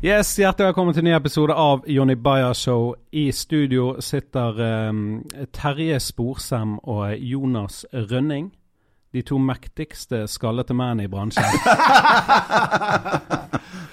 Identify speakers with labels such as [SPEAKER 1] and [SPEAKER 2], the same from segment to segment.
[SPEAKER 1] Yes, Hjertelig velkommen til en ny episode av Jonny Bayer Show. I studio sitter eh, Terje Sporsem og Jonas Rønning. De to mektigste skallete mennene i bransjen.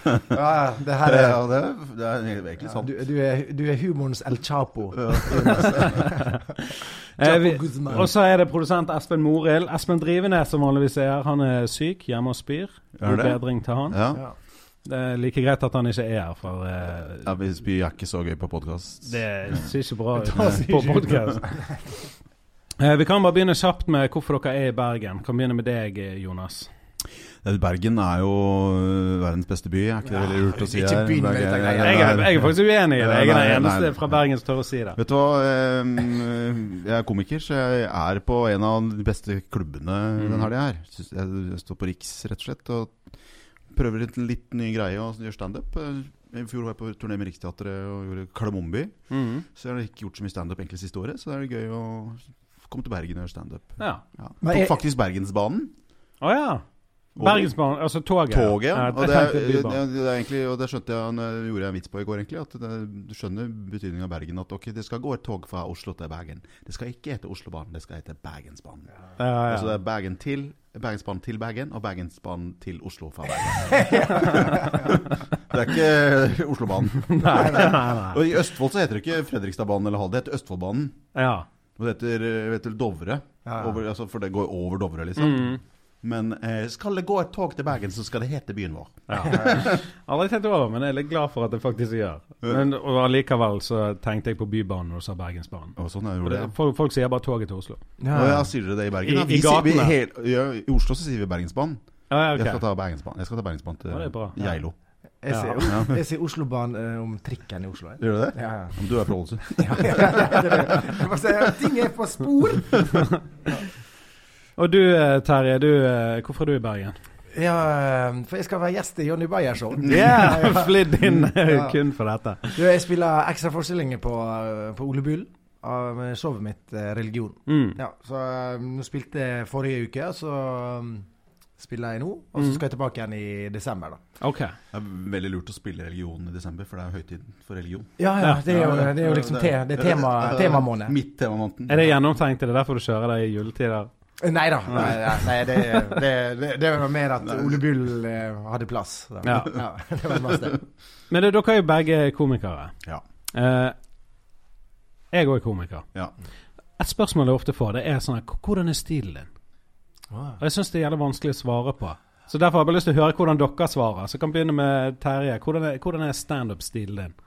[SPEAKER 2] Ja, ja, det her er, ja, det er, det er virkelig sant.
[SPEAKER 3] altså Du, du, er, du er humorens El Chapo.
[SPEAKER 1] Eh, vi-
[SPEAKER 3] Guzman.
[SPEAKER 1] og så er det produsent Espen Morild. Espen Drivenes som vanligvis er her. Han er syk, hjemme og spyr.
[SPEAKER 2] Er
[SPEAKER 1] God
[SPEAKER 2] det?
[SPEAKER 1] bedring til han.
[SPEAKER 2] Ja.
[SPEAKER 3] Ja.
[SPEAKER 1] Det er like greit at han ikke er her, for eh,
[SPEAKER 2] ja, Vi spyr er ikke så gøy på podkast.
[SPEAKER 1] Det ser ikke bra ut
[SPEAKER 3] Det ser
[SPEAKER 1] på
[SPEAKER 3] ikke ut.
[SPEAKER 1] podcast. Eh, Vi kan bare begynne kjapt med hvorfor dere er i Bergen. Kan begynne med deg, eh, Jonas.
[SPEAKER 2] Bergen er jo øh, verdens beste by, er ikke det veldig lurt å si?
[SPEAKER 3] ikke
[SPEAKER 2] her?
[SPEAKER 3] begynn med
[SPEAKER 2] Bergen-
[SPEAKER 3] dette greiene.
[SPEAKER 1] Jeg er, jeg er faktisk uenig i det. Jeg er
[SPEAKER 2] Nei,
[SPEAKER 1] den
[SPEAKER 2] nei,
[SPEAKER 1] eneste
[SPEAKER 2] nei.
[SPEAKER 1] fra Bergen som tør å si det.
[SPEAKER 2] Vet du hva, ehm, jeg er komiker, så jeg er på en av de beste klubbene
[SPEAKER 1] Mhm.
[SPEAKER 2] den helga her. Syns- Jeg står på Riks, rett og slett, og prøver litt, litt ny greie og gjør standup. I fjor var jeg på turné med Riksteatret og gjorde Kardemommeby.
[SPEAKER 1] Mhm.
[SPEAKER 2] Så jeg har ikke gjort så mye standup egentlig siste året, så det er gøy å komme til Bergen og gjøre standup.
[SPEAKER 1] Ja.
[SPEAKER 2] Ja.
[SPEAKER 3] Men
[SPEAKER 2] På
[SPEAKER 3] jeg-
[SPEAKER 2] faktisk Bergensbanen.
[SPEAKER 1] Å ja.
[SPEAKER 2] Og
[SPEAKER 1] Bergensbanen, altså toget.
[SPEAKER 2] Toget, ja. Og
[SPEAKER 1] jeg
[SPEAKER 2] det, er,
[SPEAKER 1] tenkte
[SPEAKER 2] det,
[SPEAKER 1] Bybanen.
[SPEAKER 2] det er egentlig, og det skjønte jeg, når jeg gjorde jeg en vits på i går, egentlig. At det, du skjønner betydningen av Bergen. At ok, det skal gå et tog fra Oslo til Bergen. Det skal ikke hete Oslobanen, det skal hete Bergensbanen.
[SPEAKER 1] Ja, ja.
[SPEAKER 2] Altså det er Bergen til Bergensbanen til Bergen, og Bergensbanen til Oslo fra Bergen. det er ikke Oslobanen.
[SPEAKER 1] Nei, nei, nei.
[SPEAKER 2] Og i Østfold så heter det ikke Fredrikstadbanen eller Halde, det heter Østfoldbanen.
[SPEAKER 1] Ja.
[SPEAKER 2] Og det heter, eh, vet du, Dovre.
[SPEAKER 3] Ja, ja.
[SPEAKER 2] Over, altså, for det går over Dovre,
[SPEAKER 1] sånn.
[SPEAKER 2] liksom. Men eh, skal det gå et tog til Bergen, så skal det hete byen vår.
[SPEAKER 1] Aldri tenkt over, men jeg er litt glad for at jeg faktisk gjør. Men og allikevel så tenkte jeg på Bybanen når du sa Bergensbanen.
[SPEAKER 2] Og sånn er
[SPEAKER 1] For
[SPEAKER 2] jo det.
[SPEAKER 1] det- Folk, folk sier bare toget til Oslo.
[SPEAKER 2] Ja. ja, sier dere det i Bergen?
[SPEAKER 1] I-
[SPEAKER 2] ja?
[SPEAKER 1] i
[SPEAKER 2] sier- vi,
[SPEAKER 1] gatene.
[SPEAKER 2] hel, ja, I Oslo så sier vi Bergensbanen.
[SPEAKER 1] Ja, ja,
[SPEAKER 2] Jeg skal
[SPEAKER 1] ok.
[SPEAKER 2] ta Bergensbanen Jeg skal ta Bergensbanen til
[SPEAKER 1] Ja, det er bra.
[SPEAKER 2] Geilo.
[SPEAKER 3] Jeg sier,
[SPEAKER 2] Ja.
[SPEAKER 3] jeg sier Oslobanen eh, om trikken i Oslo. Jeg.
[SPEAKER 2] Gjør du det?
[SPEAKER 3] Ja, ja.
[SPEAKER 2] Om du er fra Ålesund.
[SPEAKER 3] Det er det. Jeg bare sier, ting er på spor!
[SPEAKER 1] Og du eh, Terje, du, eh, hvorfor er du i Bergen?
[SPEAKER 3] Ja, eh, for jeg skal være gjest i Johnny Bayer Show.
[SPEAKER 2] Mm.
[SPEAKER 1] Yeah, flydd inn eh,
[SPEAKER 3] Ja.
[SPEAKER 1] kun for dette.
[SPEAKER 3] Du, jeg spiller ekstraforestillinger på, eh, på Ole Bull av showet mitt eh, Religion.
[SPEAKER 1] Mm.
[SPEAKER 3] Ja, så eh, nå spilte jeg forrige uke, og så eh, spiller jeg nå. Og
[SPEAKER 2] Mm.
[SPEAKER 3] så skal jeg tilbake igjen i desember, da.
[SPEAKER 1] Ok.
[SPEAKER 2] Det er veldig lurt å spille religionen i desember, for det er høytiden for religion.
[SPEAKER 3] Ja, ja, det er jo,
[SPEAKER 2] Ja,
[SPEAKER 3] det er jo liksom te, det er tema, temamåned.
[SPEAKER 2] Mitt temamåneden.
[SPEAKER 1] Er det gjennomtenkt? Er det derfor du kjører det i juletider?
[SPEAKER 3] Nei da. Nei, nei, nei, det, det, det, det var mer at Ole Bull eh, hadde plass. da.
[SPEAKER 1] Ja.
[SPEAKER 3] det var mest det.
[SPEAKER 1] Men det, dere er jo begge komikere.
[SPEAKER 2] Ja.
[SPEAKER 1] Eh, jeg òg er komiker.
[SPEAKER 2] Ja.
[SPEAKER 1] Et spørsmål jeg ofte får, det er sånn her "H- Hvordan er stilen din? Og jeg syns det er jævlig vanskelig å svare på. Så derfor har jeg bare lyst til å høre hvordan dere svarer. Så jeg kan begynne med Terje. Hvordan er, hvordan er standup-stilen din?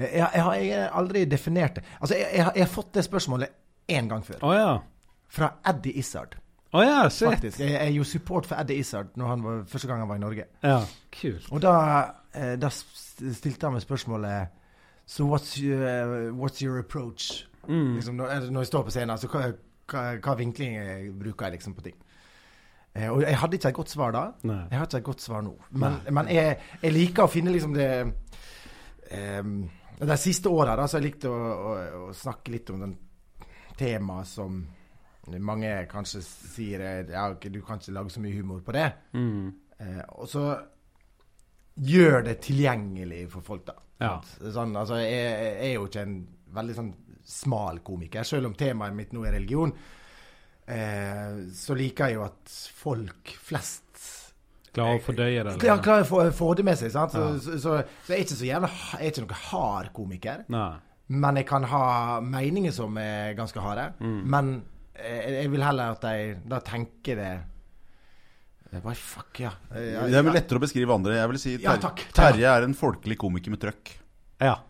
[SPEAKER 3] Jeg, jeg har jeg har aldri definert det. Altså, jeg, jeg, har- jeg har fått det spørsmålet én gang før.
[SPEAKER 1] Å ja.
[SPEAKER 3] Fra Eddie Izzard,
[SPEAKER 1] Å ja, shit.
[SPEAKER 3] faktisk. Jeg, jeg gjorde support for Eddie Izzard når han var, første gang han var i Norge.
[SPEAKER 1] Ja, kult.
[SPEAKER 3] Og da, eh, da s- stilte han meg spørsmålet So what's your, eh, what's your approach? Liksom, når, eller når jeg står på scenen, altså, hva, hva, hva vinkling jeg bruker jeg liksom på ting? Eh, og jeg hadde ikke et godt svar da.
[SPEAKER 1] Nei.
[SPEAKER 3] Jeg har ikke et godt svar nå. Men, men jeg, jeg liker å finne liksom det em, De siste åra har jeg likt å, å, å snakke litt om den temaet som mange kanskje sier eh, ja, ok, Du kan ikke lage så mye humor på det.
[SPEAKER 1] Mm.
[SPEAKER 3] Eh, og så gjør det tilgjengelig for folk, da.
[SPEAKER 1] Ja.
[SPEAKER 3] Sånn, altså, jeg, jeg er jo ikke en veldig sånn smal komiker, selv om temaet mitt nå er religion. Eh, så liker jeg jo at folk flest
[SPEAKER 1] Klarer å fordøye det?
[SPEAKER 3] ja,
[SPEAKER 1] eller?
[SPEAKER 3] klarer å få, få det med seg. sant? Så,
[SPEAKER 1] Ja.
[SPEAKER 3] så, så, så jeg er ikke så jævla ha- Jeg er ikke noen hard komiker.
[SPEAKER 1] Nei.
[SPEAKER 3] Men jeg kan ha meninger som er ganske harde. Men eh, jeg, jeg vil heller at de da tenker det Jeg bare Fuck, ja. Eh,
[SPEAKER 2] Det er vel lettere å beskrive andre. Jeg vil si
[SPEAKER 3] Ja,
[SPEAKER 2] Ter-
[SPEAKER 3] takk.
[SPEAKER 2] Terje er en folkelig komiker med trøkk.
[SPEAKER 1] Ja.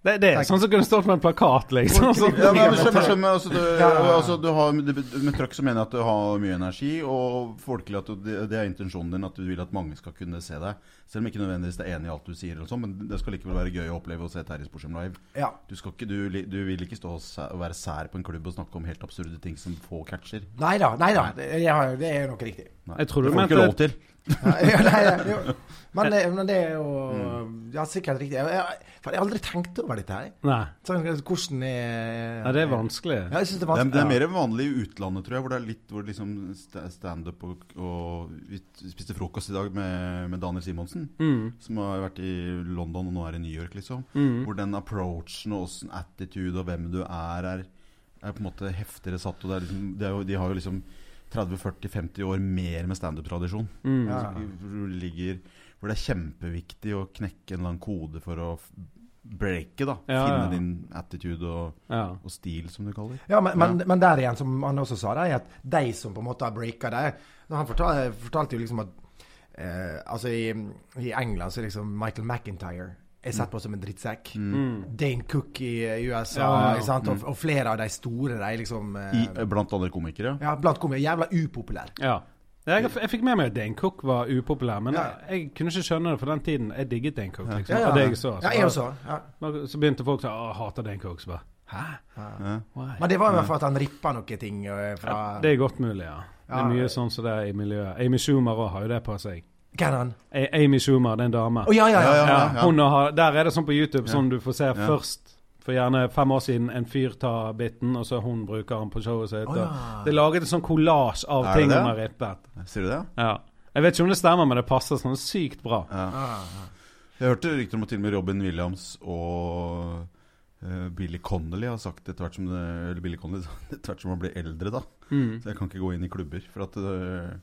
[SPEAKER 1] Det, det er
[SPEAKER 3] Takk.
[SPEAKER 1] sånn som kunne stått med en plakat, liksom. Sånn.
[SPEAKER 2] Ja, men jeg skjønner, skjønner, altså, du,
[SPEAKER 3] Ja, ja, ja.
[SPEAKER 2] altså, du har, du- med trøkk så mener jeg at du har mye energi, og folkelig at du, det- det er intensjonen din at du vil at mange skal kunne se deg. Selv om ikke nødvendigvis det er enig i alt du sier, eller sånn, men det skal likevel være gøy å oppleve å se Terje Sporsem live.
[SPEAKER 3] Ja.
[SPEAKER 2] Du, skal ikke, du, li- du vil ikke stå og sæ- og være sær på en klubb og snakke om helt absurde ting som få catcher.
[SPEAKER 3] Nei da, nei da. Det, jeg har- det er nok riktig.
[SPEAKER 2] Nei.
[SPEAKER 1] Jeg tror du
[SPEAKER 2] det får du
[SPEAKER 1] mente-
[SPEAKER 2] ikke lov til. Mm.
[SPEAKER 3] Ja, ja, nei, ja, jo. Men, det, men det er jo Ja, sikkert riktig. Jeg, jeg, for jeg har aldri tenkt over dette her.
[SPEAKER 1] Nei.
[SPEAKER 3] Sånn, hvordan er
[SPEAKER 1] Nei, det er vanskelig.
[SPEAKER 3] Ja, jeg synes det er
[SPEAKER 2] Det er,
[SPEAKER 3] vanskelig.
[SPEAKER 2] det er mer vanlig i utlandet, tror jeg, hvor det er litt hvor liksom sta- standup og, og Vi spiste frokost i dag med, med Daniel Simonsen,
[SPEAKER 1] Mm.
[SPEAKER 2] som har vært i London og nå er i New York, liksom.
[SPEAKER 1] Mm.
[SPEAKER 2] Hvor den approachen og åssen attitude og hvem du er, er, er på en måte heftigere satt. Og det er liksom, det er jo, de har jo liksom 30-40-50 år mer med standup-tradisjon.
[SPEAKER 1] Mm.
[SPEAKER 3] Ja.
[SPEAKER 2] Hvor du ligger- hvor det er kjempeviktig å knekke en eller annen kode for å f- breake, da.
[SPEAKER 1] Ja,
[SPEAKER 2] Finne
[SPEAKER 1] ja.
[SPEAKER 2] din attitude og,
[SPEAKER 1] Ja.
[SPEAKER 2] og stil, som du kaller
[SPEAKER 3] Ja, men, men, men der igjen, som han også sa, det er at de som på en måte har breaka det Han fortalte, fortalte jo liksom at eh, Altså, i, i England så er liksom Michael McIntyre er
[SPEAKER 2] Mm.
[SPEAKER 3] sett på som en drittsekk.
[SPEAKER 1] Mm.
[SPEAKER 3] Dane Cook i eh, USA
[SPEAKER 1] Ja, ja, ja.
[SPEAKER 3] ikke sant? Og, og flere av de store, de liksom eh,
[SPEAKER 2] Mm. I, Mm. blant andre komikere.
[SPEAKER 3] Ja, blant komikere. Jævla upopulær.
[SPEAKER 1] ja. Jeg, jeg fikk med meg at Dane Cook var upopulær, men
[SPEAKER 3] Ja.
[SPEAKER 1] jeg, jeg kunne ikke skjønne det for den tiden. Jeg digget Dane Cook. liksom,
[SPEAKER 3] Ja, ja.
[SPEAKER 1] av det jeg så.
[SPEAKER 3] Ja, jeg også. Ja.
[SPEAKER 1] Men Så begynte folk å «Å, hater Dane Cook. Så bare Hæ?
[SPEAKER 2] Ja.
[SPEAKER 1] Why?
[SPEAKER 3] Men det var jo for at han rippa noen ting eh, fra
[SPEAKER 1] Ja, det er godt mulig, ja. Det er
[SPEAKER 3] Ja.
[SPEAKER 1] mye sånn som det er i miljøet. Amy Schumer også har jo det på seg.
[SPEAKER 3] Hvem er han?
[SPEAKER 1] A- Amy Schumer, det er en dame.
[SPEAKER 3] Å, ja, ja, ja.
[SPEAKER 2] Ja, ja.
[SPEAKER 1] Ja, hun har, der er det sånn på YouTube, sånn du får se først. For gjerne fem år siden en fyr tar biten, og så hun bruker den på showet sitt.
[SPEAKER 3] Å,
[SPEAKER 1] og
[SPEAKER 3] ja.
[SPEAKER 1] Det er laget en sånn kollasj av
[SPEAKER 2] Er det
[SPEAKER 1] ting
[SPEAKER 2] det?
[SPEAKER 1] hun har rippet.
[SPEAKER 2] Sier du det?
[SPEAKER 1] Ja. Jeg vet ikke om det stemmer, men det passer sånn sykt bra.
[SPEAKER 3] Ah.
[SPEAKER 2] Jeg hørte rykter om at til og med Robin Williams og eh, Billy Connolly har sagt etter hvert som det, eller Billy Connolly, sa etter hvert som han blir eldre, da.
[SPEAKER 1] Mm.
[SPEAKER 2] Så jeg kan ikke gå inn i klubber. For at eh,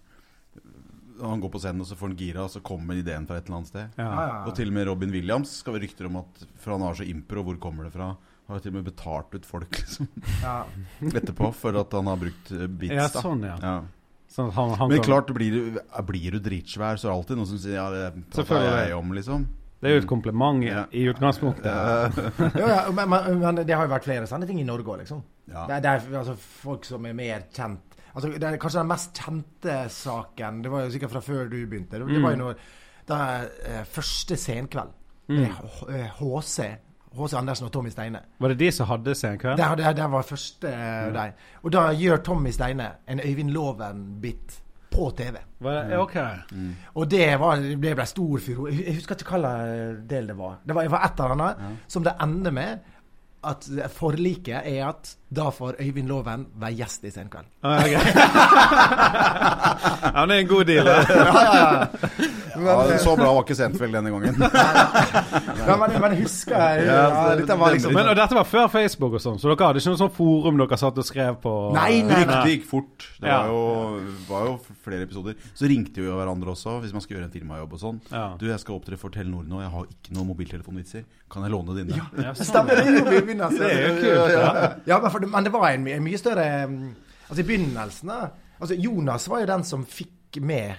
[SPEAKER 2] han går på scenen, og så får han gira, og så kommer ideen fra et eller annet sted.
[SPEAKER 1] Ja.
[SPEAKER 3] Ja, ja.
[SPEAKER 2] Og til og med Robin Williams skal være rykter om at For han har så impro, hvor kommer det fra? Har til og med betalt ut folk liksom,
[SPEAKER 3] Ja.
[SPEAKER 2] etterpå for at han har brukt eh, bits.
[SPEAKER 1] ja,
[SPEAKER 2] da.
[SPEAKER 1] sånn, ja.
[SPEAKER 2] Ja.
[SPEAKER 1] Sånn at han, han
[SPEAKER 2] Men
[SPEAKER 1] kan-
[SPEAKER 2] klart, blir du, blir du dritsvær, så er det alltid noen som sier ja, det prater
[SPEAKER 1] Selvfølgelig.
[SPEAKER 2] jeg om, liksom.
[SPEAKER 1] Det er jo et kompliment i,
[SPEAKER 2] Ja.
[SPEAKER 1] i utgangspunktet.
[SPEAKER 3] Jo, ja, men, men, men det har jo vært flere sånne ting i Norge òg, liksom.
[SPEAKER 2] Ja.
[SPEAKER 3] Det, er- det er altså, folk som er mer kjent altså, det er Kanskje den mest kjente saken Det var jo sikkert fra før du begynte. Det, det var jo når da, eh, første senkveld. Eh, H- eh, HC. HC Andersen og Tommy Steine.
[SPEAKER 1] Var det de som hadde seg en kveld?
[SPEAKER 3] Det, det, det var første eh, der. Og da gjør Tommy Steine en Øyvind Loven-bit på TV.
[SPEAKER 1] Var det? Ja, ok.
[SPEAKER 3] Og det, var, det ble stor furo. Jeg jeg husker ikke hvilken eh, del det var. Det var, det var et eller annet som det ender med at forliket er at da får Øyvind Loven være gjest i Senkveld.
[SPEAKER 1] Ah, ok. ja, men det er en god deal. da.
[SPEAKER 2] Ja, så bra var ikke Sentfeld denne gangen.
[SPEAKER 3] Ja, men, men husker jeg ja,
[SPEAKER 1] altså,
[SPEAKER 2] Ja,
[SPEAKER 3] Dette var liksom
[SPEAKER 1] Men, og dette var før Facebook og sånn, så dere hadde ikke noe sånn forum dere satt og skrev på?
[SPEAKER 3] Nei, nei,
[SPEAKER 2] Det
[SPEAKER 3] nei.
[SPEAKER 2] gikk fort. Det
[SPEAKER 1] Ja.
[SPEAKER 2] var jo, var jo flere episoder. Så ringte vi jo hverandre også hvis man skulle gjøre en firmajobb og sånn.
[SPEAKER 1] Ja.
[SPEAKER 2] Du, jeg skal opptre for Telenor nå, jeg har ikke noen mobiltelefonvitser. Kan jeg låne dine?
[SPEAKER 1] Ja, sånn,
[SPEAKER 3] Stemmer det? når vi begynner, altså.
[SPEAKER 1] Det er jo kult. Ja.
[SPEAKER 3] Ja, men, for, det- men det var en, my- en mye større mm, Altså, i begynnelsen da altså, Jonas var jo den som fikk med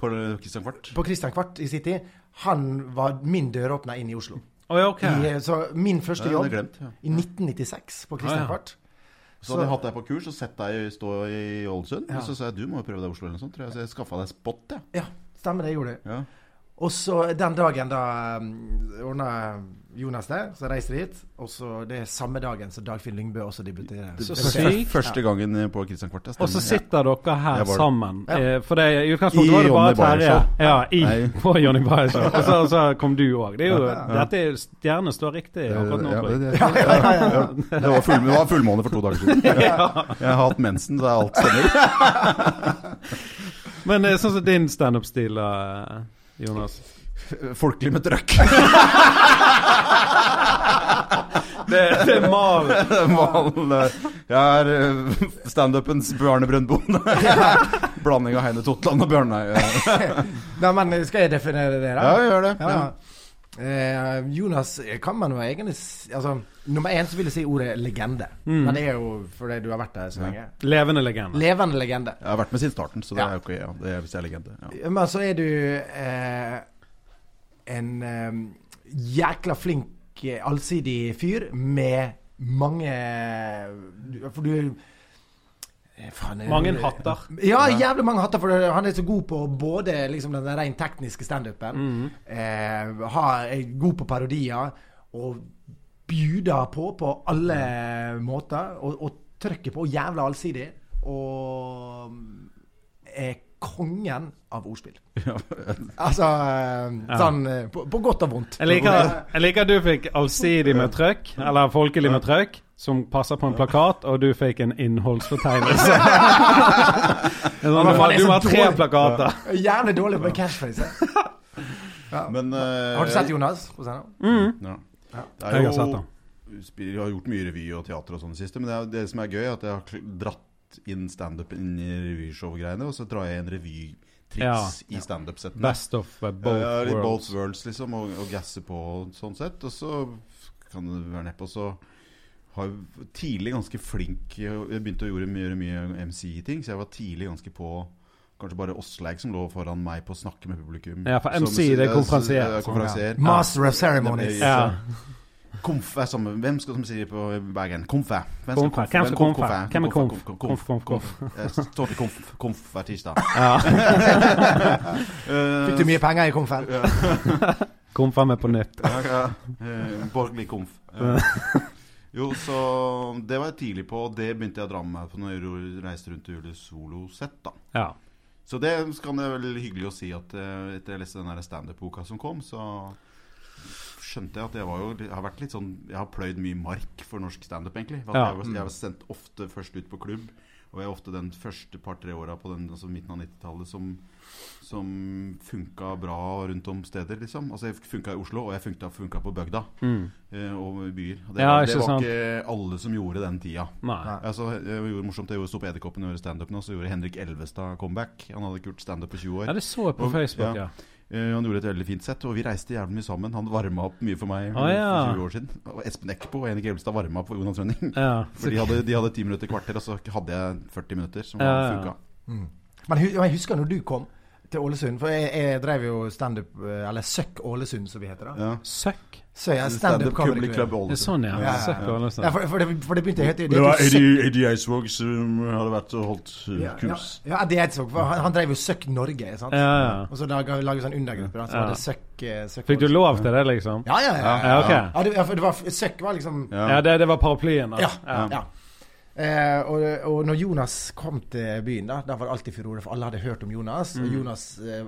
[SPEAKER 2] På Kristian Kvart.
[SPEAKER 3] på Christian Kvart i sin tid. Han var min døråpner inn i Oslo.
[SPEAKER 1] Å, ja, ok.
[SPEAKER 3] I, eh, så min første
[SPEAKER 2] Ja,
[SPEAKER 3] jobb
[SPEAKER 2] det hadde jeg glemt, ja.
[SPEAKER 3] i 1996 på
[SPEAKER 1] Ah,
[SPEAKER 3] Christian
[SPEAKER 1] ja.
[SPEAKER 3] Kvart.
[SPEAKER 2] Så hadde jeg hatt deg på kurs og sett deg stå i Ålesund.
[SPEAKER 3] Ja.
[SPEAKER 2] Og så sa jeg du må jo prøve deg i Oslo eller noe sånt. Tror jeg. Så jeg skaffa deg spot, jeg.
[SPEAKER 3] Ja, stemmer det. gjorde du.
[SPEAKER 2] Ja.
[SPEAKER 3] Og så den dagen da um, ordna Jonas det, så reiser de hit. Og så det er samme dagen som Dagfinn Lyngbø også debuterer.
[SPEAKER 1] Så
[SPEAKER 3] Eller-
[SPEAKER 1] sykt.
[SPEAKER 2] Første gangen på Kristian Kvart. jeg
[SPEAKER 1] Og så
[SPEAKER 2] stemmer.
[SPEAKER 1] sitter dere her
[SPEAKER 2] Jeg var det.
[SPEAKER 1] sammen.
[SPEAKER 3] Ja.
[SPEAKER 1] eh, For det, i utgangspunktet var
[SPEAKER 2] I
[SPEAKER 1] det bare
[SPEAKER 2] Johnny Bayer
[SPEAKER 1] Terje.
[SPEAKER 2] Show.
[SPEAKER 1] Ja, i,
[SPEAKER 2] Nei.
[SPEAKER 1] på Johnny Bayer Show. Og så, og så kom du òg. Det er jo, dette er stjerne står riktig akkurat nå,
[SPEAKER 2] Ja,
[SPEAKER 1] tror jeg.
[SPEAKER 2] det, det, det, var full, det var fullmåne for to dager siden. Jeg har hatt mensen, så alt stemmer.
[SPEAKER 1] Men eh, sånn som din standup-stil, da, Jonas.
[SPEAKER 2] Folkelig med trøkk.
[SPEAKER 1] Det, det er mal.
[SPEAKER 2] Mal, eh, Jeg er eh, standupens Bjarne Brøndbo. Blanding av Heine Totland og Bjørnøy. Ja,
[SPEAKER 3] Nei, men skal jeg definere det, da?
[SPEAKER 2] jeg gjør det.
[SPEAKER 3] Ja, ja. Eh, Jonas kan man jo egentlig s- Altså, nummer én så vil jeg si ordet legende.
[SPEAKER 2] Mm.
[SPEAKER 3] Men det er jo fordi du har vært der så lenge.
[SPEAKER 1] Levende legende.
[SPEAKER 3] Levende legende.
[SPEAKER 2] Jeg har vært med siden starten, så det
[SPEAKER 3] Ja.
[SPEAKER 2] er jo ikke ja, det er, hvis jeg er legende. Ja.
[SPEAKER 3] Men så er du eh, en eh, jækla flink, eh, allsidig fyr med mange du- For du eh, faen, eh,
[SPEAKER 1] Mange hatter.
[SPEAKER 3] Ja, jævlig mange hatter. For det- han er så god på både liksom, den rent tekniske standupen,
[SPEAKER 1] Mhm.
[SPEAKER 3] eh, har- er god på parodier, og bjuder på på alle måter. Og, og trykker på, og jævla allsidig. Og er kongen av ordspill.
[SPEAKER 2] Ja,
[SPEAKER 3] Altså eh,
[SPEAKER 1] Ja.
[SPEAKER 3] sånn eh, på, på godt og vondt.
[SPEAKER 1] Jeg liker, jeg liker at du fikk allsidig med trøkk, eller folkelig med trøkk, som passer på en plakat, og du fikk en innholdsfortegnelse. Du
[SPEAKER 3] men faen,
[SPEAKER 1] har,
[SPEAKER 3] det er
[SPEAKER 1] du
[SPEAKER 3] så
[SPEAKER 1] har tre
[SPEAKER 3] dårlig.
[SPEAKER 1] plakater.
[SPEAKER 3] Jævlig dårlig på catchphrase. Ja.
[SPEAKER 2] Men eh,
[SPEAKER 3] Har du sett Jonas? på scenen?
[SPEAKER 1] Mm.
[SPEAKER 2] Ja.
[SPEAKER 3] Ja.
[SPEAKER 2] Det er
[SPEAKER 1] Jeg
[SPEAKER 2] jo,
[SPEAKER 1] har sett den.
[SPEAKER 2] spiller- Jeg har gjort mye revy og teater og sånn i det siste, men det, er, det som er gøy, er at jeg har kl- dratt inn standup inn i revyshowgreiene, og så drar jeg inn revytriks i standup-settene.
[SPEAKER 1] Best of uh, both
[SPEAKER 2] ja, litt
[SPEAKER 1] worlds.
[SPEAKER 2] both worlds, liksom, og, og gasse på og sånn sett. Og så kan det være nedpå, så har jeg tidlig ganske flink Jeg begynte å gjøre mye, gjøre mye MC-ting, så jeg var tidlig ganske på Kanskje bare Åsleik som lå foran meg på å snakke med publikum.
[SPEAKER 1] Ja, for
[SPEAKER 2] Som-
[SPEAKER 1] MC, det er
[SPEAKER 2] ja,
[SPEAKER 1] konferansier.
[SPEAKER 2] ja, konferansier.
[SPEAKER 3] Master of
[SPEAKER 2] Det
[SPEAKER 3] ceremonies.
[SPEAKER 2] blir-
[SPEAKER 1] Ja.
[SPEAKER 2] Komf er samme Hvem skal som sier på Bergen? Komfe. Hvem
[SPEAKER 1] Komfe. Hvem skal komfe? Hvem er komf?
[SPEAKER 2] Komf,
[SPEAKER 1] Komf, komf,
[SPEAKER 2] komf. Jeg Står til komf, komf hver tirsdag. Eh,
[SPEAKER 1] ja.
[SPEAKER 3] Fikk du mye penger i Komfen?
[SPEAKER 1] Kom frem med på nytt.
[SPEAKER 2] Eh, Borgerlig komf. Eh, Jo, så det var jeg tidlig på, og det begynte jeg å dra med meg på når jeg reiste rundt og gjorde solosett, da.
[SPEAKER 1] Ja.
[SPEAKER 2] Så det kan det vel hyggelig å si at eh, etter jeg leste den der standup-boka som kom, så skjønte jeg at jeg, var jo, jeg har vært litt sånn Jeg har pløyd mye mark for norsk standup, egentlig. For at
[SPEAKER 1] Ja. Mm.
[SPEAKER 2] jeg, var, jeg var sendt ofte først ut på klubb, og jeg er ofte den første par-tre åra på den, altså midten av 90-tallet som, som funka bra rundt om steder, liksom. Altså jeg funka i Oslo, og jeg funka, funka på bygda
[SPEAKER 1] Mm.
[SPEAKER 2] eh, og i byer. Og det,
[SPEAKER 1] Ja,
[SPEAKER 2] var-
[SPEAKER 1] ikke
[SPEAKER 2] det var
[SPEAKER 1] sant.
[SPEAKER 2] ikke alle som gjorde den tida.
[SPEAKER 1] Nei.
[SPEAKER 3] Nei.
[SPEAKER 2] Altså, det var jo morsomt, jeg gjorde- sto på Edderkoppen og gjorde standup nå, så gjorde Henrik Elvestad comeback. Han hadde ikke gjort standup på 20 år.
[SPEAKER 1] Ja, det så jeg på
[SPEAKER 2] Og-
[SPEAKER 1] Facebook, ja.
[SPEAKER 2] Eh, han gjorde et veldig fint sett, og vi reiste jævlig mye sammen. Han varma opp mye for meg
[SPEAKER 1] Ah, ja.
[SPEAKER 2] for 20 år siden. Og Espen Eckbo og Henrik Elvestad varma opp for Jonas Rønning.
[SPEAKER 1] ja.
[SPEAKER 2] For de hadde, de hadde 10 minutter kvarter, og så hadde jeg 40 minutter, som
[SPEAKER 1] Ja, ja.
[SPEAKER 2] funka.
[SPEAKER 3] Mm. Men hu- jeg husker når du kom til Ålesund, for jeg, jeg drev jo standup eh, Eller Søkk Ålesund, som vi heter. da
[SPEAKER 2] Ja.
[SPEAKER 1] Søkk.
[SPEAKER 3] Så jeg
[SPEAKER 2] Standup
[SPEAKER 3] standup-komiker.
[SPEAKER 2] Comedy Club
[SPEAKER 1] Det er
[SPEAKER 2] Ålesund.
[SPEAKER 1] sånn, ja.
[SPEAKER 3] Ja, ja, ja.
[SPEAKER 1] Søkk og alle
[SPEAKER 3] Ja,
[SPEAKER 1] sånne.
[SPEAKER 3] for, for, det, for det begynte jeg helt
[SPEAKER 2] Det var Eddie, Eddie Eidsvåg som hadde vært og holdt eh,
[SPEAKER 3] Ja, ja,
[SPEAKER 2] kurs.
[SPEAKER 3] ja, Eddie Eidsvåg. for Han, han drev jo Søkk Norge, sant?
[SPEAKER 1] Ja, ja.
[SPEAKER 3] Og så laga vi sånn undergruppe. Da, så
[SPEAKER 1] Ja.
[SPEAKER 3] var det Søkk eh, Søkk
[SPEAKER 1] Fikk du
[SPEAKER 3] Ålesund.
[SPEAKER 1] lov til det, liksom?
[SPEAKER 3] Ja, ja, ja.
[SPEAKER 1] Ja, ok.
[SPEAKER 3] Ja, det, ja, for det var, Søkk var liksom
[SPEAKER 1] Ja, det, det var paraplyen, da.
[SPEAKER 3] Ja. ja. Eh, og, og når Jonas kom til byen, da Da var det alltid furore, for alle hadde hørt om Jonas.
[SPEAKER 2] Mm.
[SPEAKER 3] Og Jonas eh,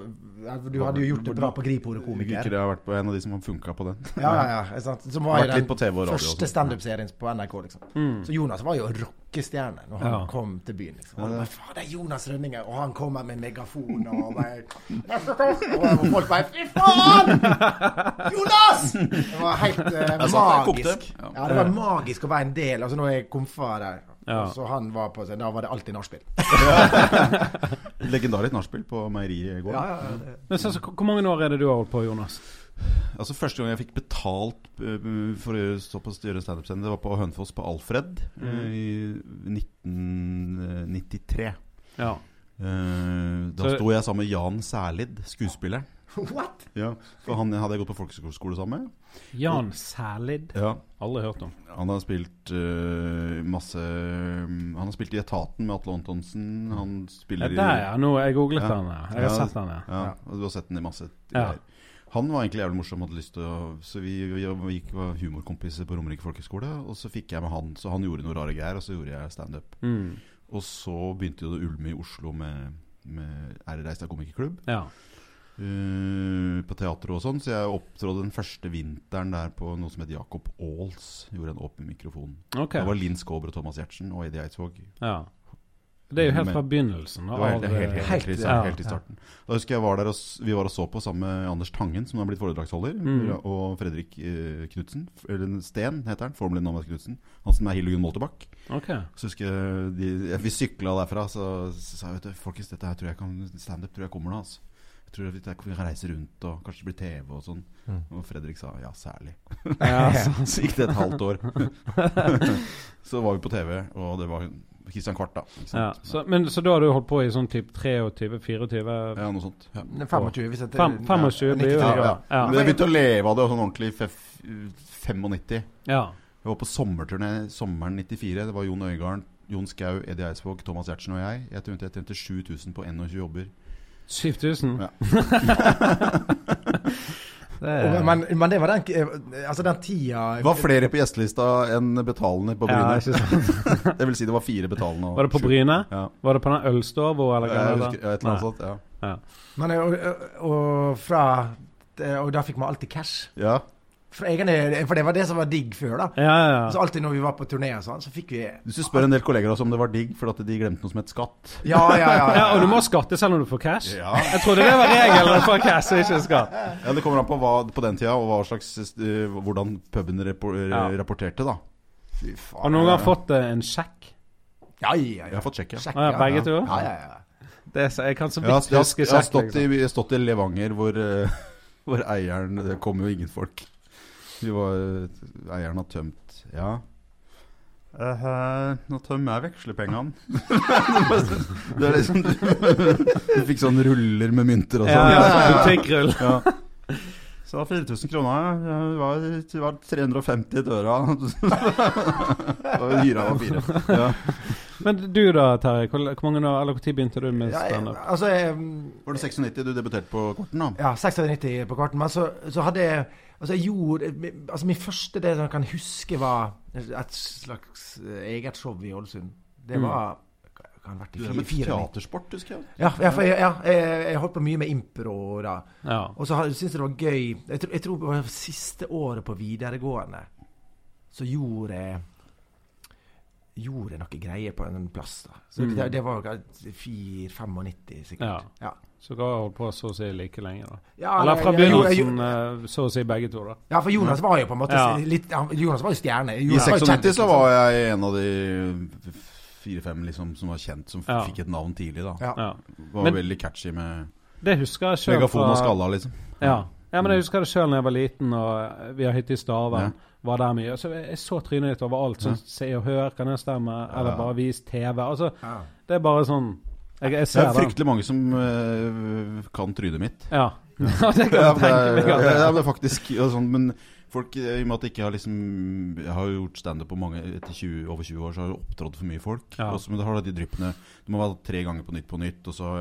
[SPEAKER 3] Du hadde jo gjort det bra på Gripordet komiker.
[SPEAKER 2] Ikke det har vært på en av de som har funka på den.
[SPEAKER 3] Ja, ja, ja. ikke Sant? Som var
[SPEAKER 2] Vært
[SPEAKER 3] jo den
[SPEAKER 2] litt på TV og radio
[SPEAKER 3] første
[SPEAKER 2] også. Mm.
[SPEAKER 3] standup-serien på NRK, liksom. Så Jonas var jo rockestjerne når han
[SPEAKER 1] Ja.
[SPEAKER 3] kom til byen. liksom. Og bare, faen, det er Jonas Rønninger, og han kommer med megafon og bare Og folk bare Fy faen! Jonas! Det var helt eh,
[SPEAKER 2] Jeg satt der, Altså, kokte.
[SPEAKER 3] magisk.
[SPEAKER 2] Ja.
[SPEAKER 3] Ja, det var magisk å være en del. Altså, når jeg kom fra der,
[SPEAKER 1] eh. Ja.
[SPEAKER 3] så han var på scenen, da var det alltid nachspiel.
[SPEAKER 2] Legendarisk nachspiel på meieriet i går.
[SPEAKER 3] Ja, ja, ja, det-
[SPEAKER 1] Men så, så, hvor mange år er det du har holdt på, Jonas?
[SPEAKER 2] Altså Første gang jeg fikk betalt eh, for å gjøre- stå på gjøre standup-scene, det var på Hønefoss, på Alfred, eh, i 1993.
[SPEAKER 1] Ja.
[SPEAKER 2] Eh, da
[SPEAKER 1] Så-
[SPEAKER 2] sto jeg sammen med Jan Særlid, skuespilleren.
[SPEAKER 3] What?
[SPEAKER 2] Ja, for han hadde jeg gått på folkeskole sammen med.
[SPEAKER 1] Jan Sælid.
[SPEAKER 2] Ja,
[SPEAKER 1] Aldri hørt om.
[SPEAKER 2] Han har spilt eh, masse mm, Han har spilt i Etaten med Atle Antonsen. Han
[SPEAKER 1] Ja,
[SPEAKER 2] spiller i
[SPEAKER 1] der, ja. Nå, jeg googlet
[SPEAKER 2] Ja.
[SPEAKER 1] den. ja. Jeg har
[SPEAKER 2] Ja,
[SPEAKER 1] sett den, ja.
[SPEAKER 2] Ja, og du har sett den i masse
[SPEAKER 1] Ja.
[SPEAKER 2] greier. Han var egentlig jævlig morsom, hadde lyst til å Så vi, vi gikk, var humorkompiser på Romerike folkehøgskole, og så fikk jeg med han. Så han gjorde noe rare greier, og så gjorde jeg standup.
[SPEAKER 1] Mm.
[SPEAKER 2] Og så begynte jo det å ulme i Oslo med, med Reistad komikerklubb.
[SPEAKER 1] ja.
[SPEAKER 2] eh, på teatret og sånn, så jeg opptrådte den første vinteren der på noe som het Jacob Aals. Gjorde en åpen mikrofon.
[SPEAKER 1] Ok.
[SPEAKER 2] Det var Linn Skåber og Thomas Giertsen og Eddie Eidsvåg.
[SPEAKER 1] Ja. Det er jo helt
[SPEAKER 2] Men-
[SPEAKER 1] fra begynnelsen.
[SPEAKER 2] Det var helt,
[SPEAKER 1] av-
[SPEAKER 2] helt, helt, helt, i-
[SPEAKER 1] ja.
[SPEAKER 2] helt i starten. Da husker jeg var der og, s- Vi var og så på sammen med Anders Tangen, som har blitt foredragsholder,
[SPEAKER 1] Mm.
[SPEAKER 2] og Fredrik eh, Knudsen, f- Eller Sten heter han. Formelen navnet Knudsen. Han som er Hildegunn Moltebakk.
[SPEAKER 1] Ok.
[SPEAKER 2] Så husker jeg de, ja, Vi sykla derfra, så, så sa jeg vet du, folkens, dette her tror jeg kan standup tror jeg kommer nå. Altså. Jeg tror vi vi kan reise rundt og kanskje det blir TV og sånn. Og Fredrik sa ja, særlig.
[SPEAKER 1] Ja, så,
[SPEAKER 2] Så gikk det et halvt år. så var vi på TV, og det var Christian Kvart, da. Ikke
[SPEAKER 1] ja.
[SPEAKER 2] sant?
[SPEAKER 1] Så, men, så da har du holdt på i sånn typ 23-24?
[SPEAKER 2] Ja, noe sånt. Ja.
[SPEAKER 3] 25, hvis jeg
[SPEAKER 1] 25 blir jo
[SPEAKER 2] Ja, ja.
[SPEAKER 1] ja. Ja.
[SPEAKER 2] Men jeg begynte å leve av det sånn ordentlig i fef- 95.
[SPEAKER 1] Ja.
[SPEAKER 2] Jeg var på sommerturné sommeren 94. Det var Jon Øigarden, Jon Skau, Eddie Eidsvåg, Thomas Giertsen og jeg. Jeg tjente, jeg tjente 7000 på 21 jobber.
[SPEAKER 1] 7000?
[SPEAKER 2] Ja.
[SPEAKER 1] Det
[SPEAKER 3] Og-
[SPEAKER 1] er,
[SPEAKER 3] Men, men det var den, altså den tida
[SPEAKER 2] var flere på gjestelista enn betalende på
[SPEAKER 1] ja,
[SPEAKER 2] Bryne.
[SPEAKER 1] ikke sant.
[SPEAKER 2] det vil si det var ffire betalende. og
[SPEAKER 1] Var det på
[SPEAKER 2] sju-
[SPEAKER 1] Bryne?
[SPEAKER 2] Ja.
[SPEAKER 1] Var det på den ølstova eller hva?
[SPEAKER 2] Jeg
[SPEAKER 1] det var?
[SPEAKER 2] husker, ja, et eller
[SPEAKER 1] Nei.
[SPEAKER 2] annet sånt. Ja.
[SPEAKER 3] Men, eh, og, og- og fra det- Og da fikk man alltid cash.
[SPEAKER 2] ja.
[SPEAKER 3] For, egen, for det var det som var digg før, da.
[SPEAKER 1] Ja, ja,
[SPEAKER 3] Så
[SPEAKER 1] ja.
[SPEAKER 3] alltid når vi var på turné og sånn, så fikk vi
[SPEAKER 2] Hvis du spør en del kolleger også om det var digg fordi at de glemte noe som het skatt.
[SPEAKER 3] Ja, ja, ja.
[SPEAKER 1] ja. Og du må skatte selv om du får cash?
[SPEAKER 2] Ja.
[SPEAKER 1] Jeg trodde det var regelen for cash og ikke skatt.
[SPEAKER 2] Ja, Det kommer an på hva på den tida og hva slags, eh, hvordan puben rapor,
[SPEAKER 1] Ja.
[SPEAKER 2] rapporterte, da.
[SPEAKER 3] Fy
[SPEAKER 1] Har
[SPEAKER 3] faen.
[SPEAKER 1] noen gang fått eh, en sjekk?
[SPEAKER 3] Ja, ja,
[SPEAKER 2] Jeg
[SPEAKER 3] ja.
[SPEAKER 2] har fått sjekke.
[SPEAKER 3] Sjekk,
[SPEAKER 1] Å ja, begge to?
[SPEAKER 3] Ja, ja, ja.
[SPEAKER 1] Det er, så- jeg kan så
[SPEAKER 2] Jeg har,
[SPEAKER 1] vidt
[SPEAKER 2] jeg, har,
[SPEAKER 1] huske
[SPEAKER 2] jeg, har
[SPEAKER 1] sjekk.
[SPEAKER 2] stått i,
[SPEAKER 1] Liksom.
[SPEAKER 2] jeg har stått i Levanger hvor, eh, hvor eieren Det kom jo ingen folk. Vi var, eh, eieren har tømt Ja. Eh, nå tømmer jeg vekslepengene. det er liksom Du fikk sånn ruller med mynter og
[SPEAKER 1] Ja,
[SPEAKER 2] sånn.
[SPEAKER 1] ja, ja. Butikkrull.
[SPEAKER 2] Ja. Så det var 4000 kroner. Det var, det var 350 i døra. Og hyra var fire. Ja.
[SPEAKER 1] liksom. Men du da, Terje. Hvor, hvor mange år, eller hvor tid begynte du med
[SPEAKER 3] ja jeg,
[SPEAKER 1] standup?
[SPEAKER 3] altså jeg,
[SPEAKER 2] Var det 96 du debuterte på korten, da?
[SPEAKER 3] Ja, 96 på kvarten. Men så, så hadde jeg Altså, jeg gjorde Altså, min første det jeg kan huske, var et slags eh, eget show i Ålesund. Det var Kan ha vært
[SPEAKER 2] Mm. Du
[SPEAKER 3] i
[SPEAKER 2] drev med
[SPEAKER 3] fire- fire
[SPEAKER 2] teatersport, husker jeg.
[SPEAKER 3] Ja, ja, for jeg, ja jeg, jeg holdt på mye med impro da.
[SPEAKER 1] Ja.
[SPEAKER 3] Og så syntes jeg det var gøy jeg, tror- jeg tror det var siste året på videregående så gjorde jeg Gjorde jeg noe greier på en plass, da. Så
[SPEAKER 2] Mm.
[SPEAKER 3] det, det var 4-95
[SPEAKER 1] Ja.
[SPEAKER 3] sikkert. Ja.
[SPEAKER 1] Så dere har holdt på så å si like lenge, da.
[SPEAKER 3] Ja,
[SPEAKER 1] Eller
[SPEAKER 3] jeg-
[SPEAKER 1] fra
[SPEAKER 3] jeg- jeg- jeg-
[SPEAKER 1] begynnelsen, eh, så å si begge to, da.
[SPEAKER 3] Ja, for Jonas var jo på en måte
[SPEAKER 1] Ja.
[SPEAKER 3] litt, han- Jonas var jo stjerne.
[SPEAKER 2] I
[SPEAKER 3] Jonas var jo
[SPEAKER 2] 96
[SPEAKER 3] kjendis,
[SPEAKER 2] så
[SPEAKER 3] liksom.
[SPEAKER 2] var jeg en av de fire-fem liksom, som var kjent, som f-
[SPEAKER 1] Ja.
[SPEAKER 2] fikk et navn tidlig. da
[SPEAKER 3] Ja.
[SPEAKER 1] Ja.
[SPEAKER 2] Var
[SPEAKER 1] Men-
[SPEAKER 2] veldig catchy med
[SPEAKER 1] Det husker jeg sjøl.
[SPEAKER 2] megafon og skalla, liksom.
[SPEAKER 1] Ja. ja, men jeg husker det sjøl da jeg var liten, og eh, vi har hytte i Stavern.
[SPEAKER 2] Ja.
[SPEAKER 1] Var der mye. Så jeg jeg så trynet ditt overalt. Sånn, Se og Hør, kan jeg stemme? Eller
[SPEAKER 2] Ja.
[SPEAKER 1] bare vis TV. Altså,
[SPEAKER 3] Ja.
[SPEAKER 1] det er bare sånn Jeg, jeg
[SPEAKER 2] Det
[SPEAKER 1] ser
[SPEAKER 2] er
[SPEAKER 1] den.
[SPEAKER 2] fryktelig mange som eh, kan trynet mitt.
[SPEAKER 1] Ja. ja, det kan
[SPEAKER 2] Ja,
[SPEAKER 1] jeg
[SPEAKER 2] det
[SPEAKER 1] tenke
[SPEAKER 2] er,
[SPEAKER 1] meg.
[SPEAKER 2] ja,
[SPEAKER 1] at det-
[SPEAKER 2] ja, det er faktisk ja, sånn, Men folk, eh, i og med at jeg ikke har liksom Jeg har jo gjort standup på mange etter 20, over 20 år, så har jeg opptrådt for mye folk.
[SPEAKER 1] Ja.
[SPEAKER 2] Også, men det har da de dryppene Du må være tre ganger på Nytt på Nytt, og så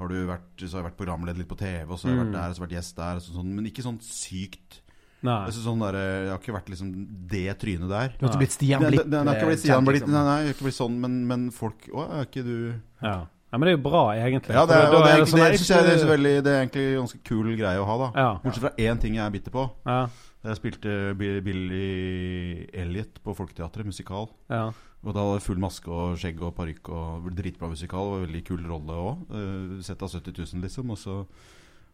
[SPEAKER 2] har du vært, så har jeg vært programleder litt på TV, og så har jeg vært
[SPEAKER 1] Mm.
[SPEAKER 2] der, og så har jeg vært gjest der, og så, sånn, men ikke sånn sykt.
[SPEAKER 1] Nei.
[SPEAKER 2] Altså, sånn der, eh, jeg har ikke vært liksom det trynet der.
[SPEAKER 3] Du har ikke blitt Stian
[SPEAKER 2] Den,
[SPEAKER 3] Blipp?
[SPEAKER 2] den, den
[SPEAKER 3] eh,
[SPEAKER 2] har ikke blitt,
[SPEAKER 3] kjent,
[SPEAKER 2] den har blitt,
[SPEAKER 3] liksom.
[SPEAKER 2] nei, nei, jeg har ikke blitt sånn, men, men folk Å, er ikke du
[SPEAKER 1] Ja. ja, Men det er jo bra, egentlig.
[SPEAKER 2] Ja, det, er,
[SPEAKER 1] For da- da
[SPEAKER 2] og det, er,
[SPEAKER 1] sånn,
[SPEAKER 2] det,
[SPEAKER 1] nei,
[SPEAKER 2] synes jeg, det, er
[SPEAKER 1] ikke-
[SPEAKER 2] veldig, det er egentlig en ganske kul greie å ha, da.
[SPEAKER 1] Ja.
[SPEAKER 2] Bortsett fra én ting jeg er bitter på.
[SPEAKER 1] Ja,
[SPEAKER 2] Da jeg spilte Bi- Billy Elliot på Folketeatret, musikal.
[SPEAKER 1] ja.
[SPEAKER 2] Og da hadde jeg full maske og skjegg og parykk og dritbra musikal. Og veldig kul rolle òg. Sett av 70 000, liksom. Og så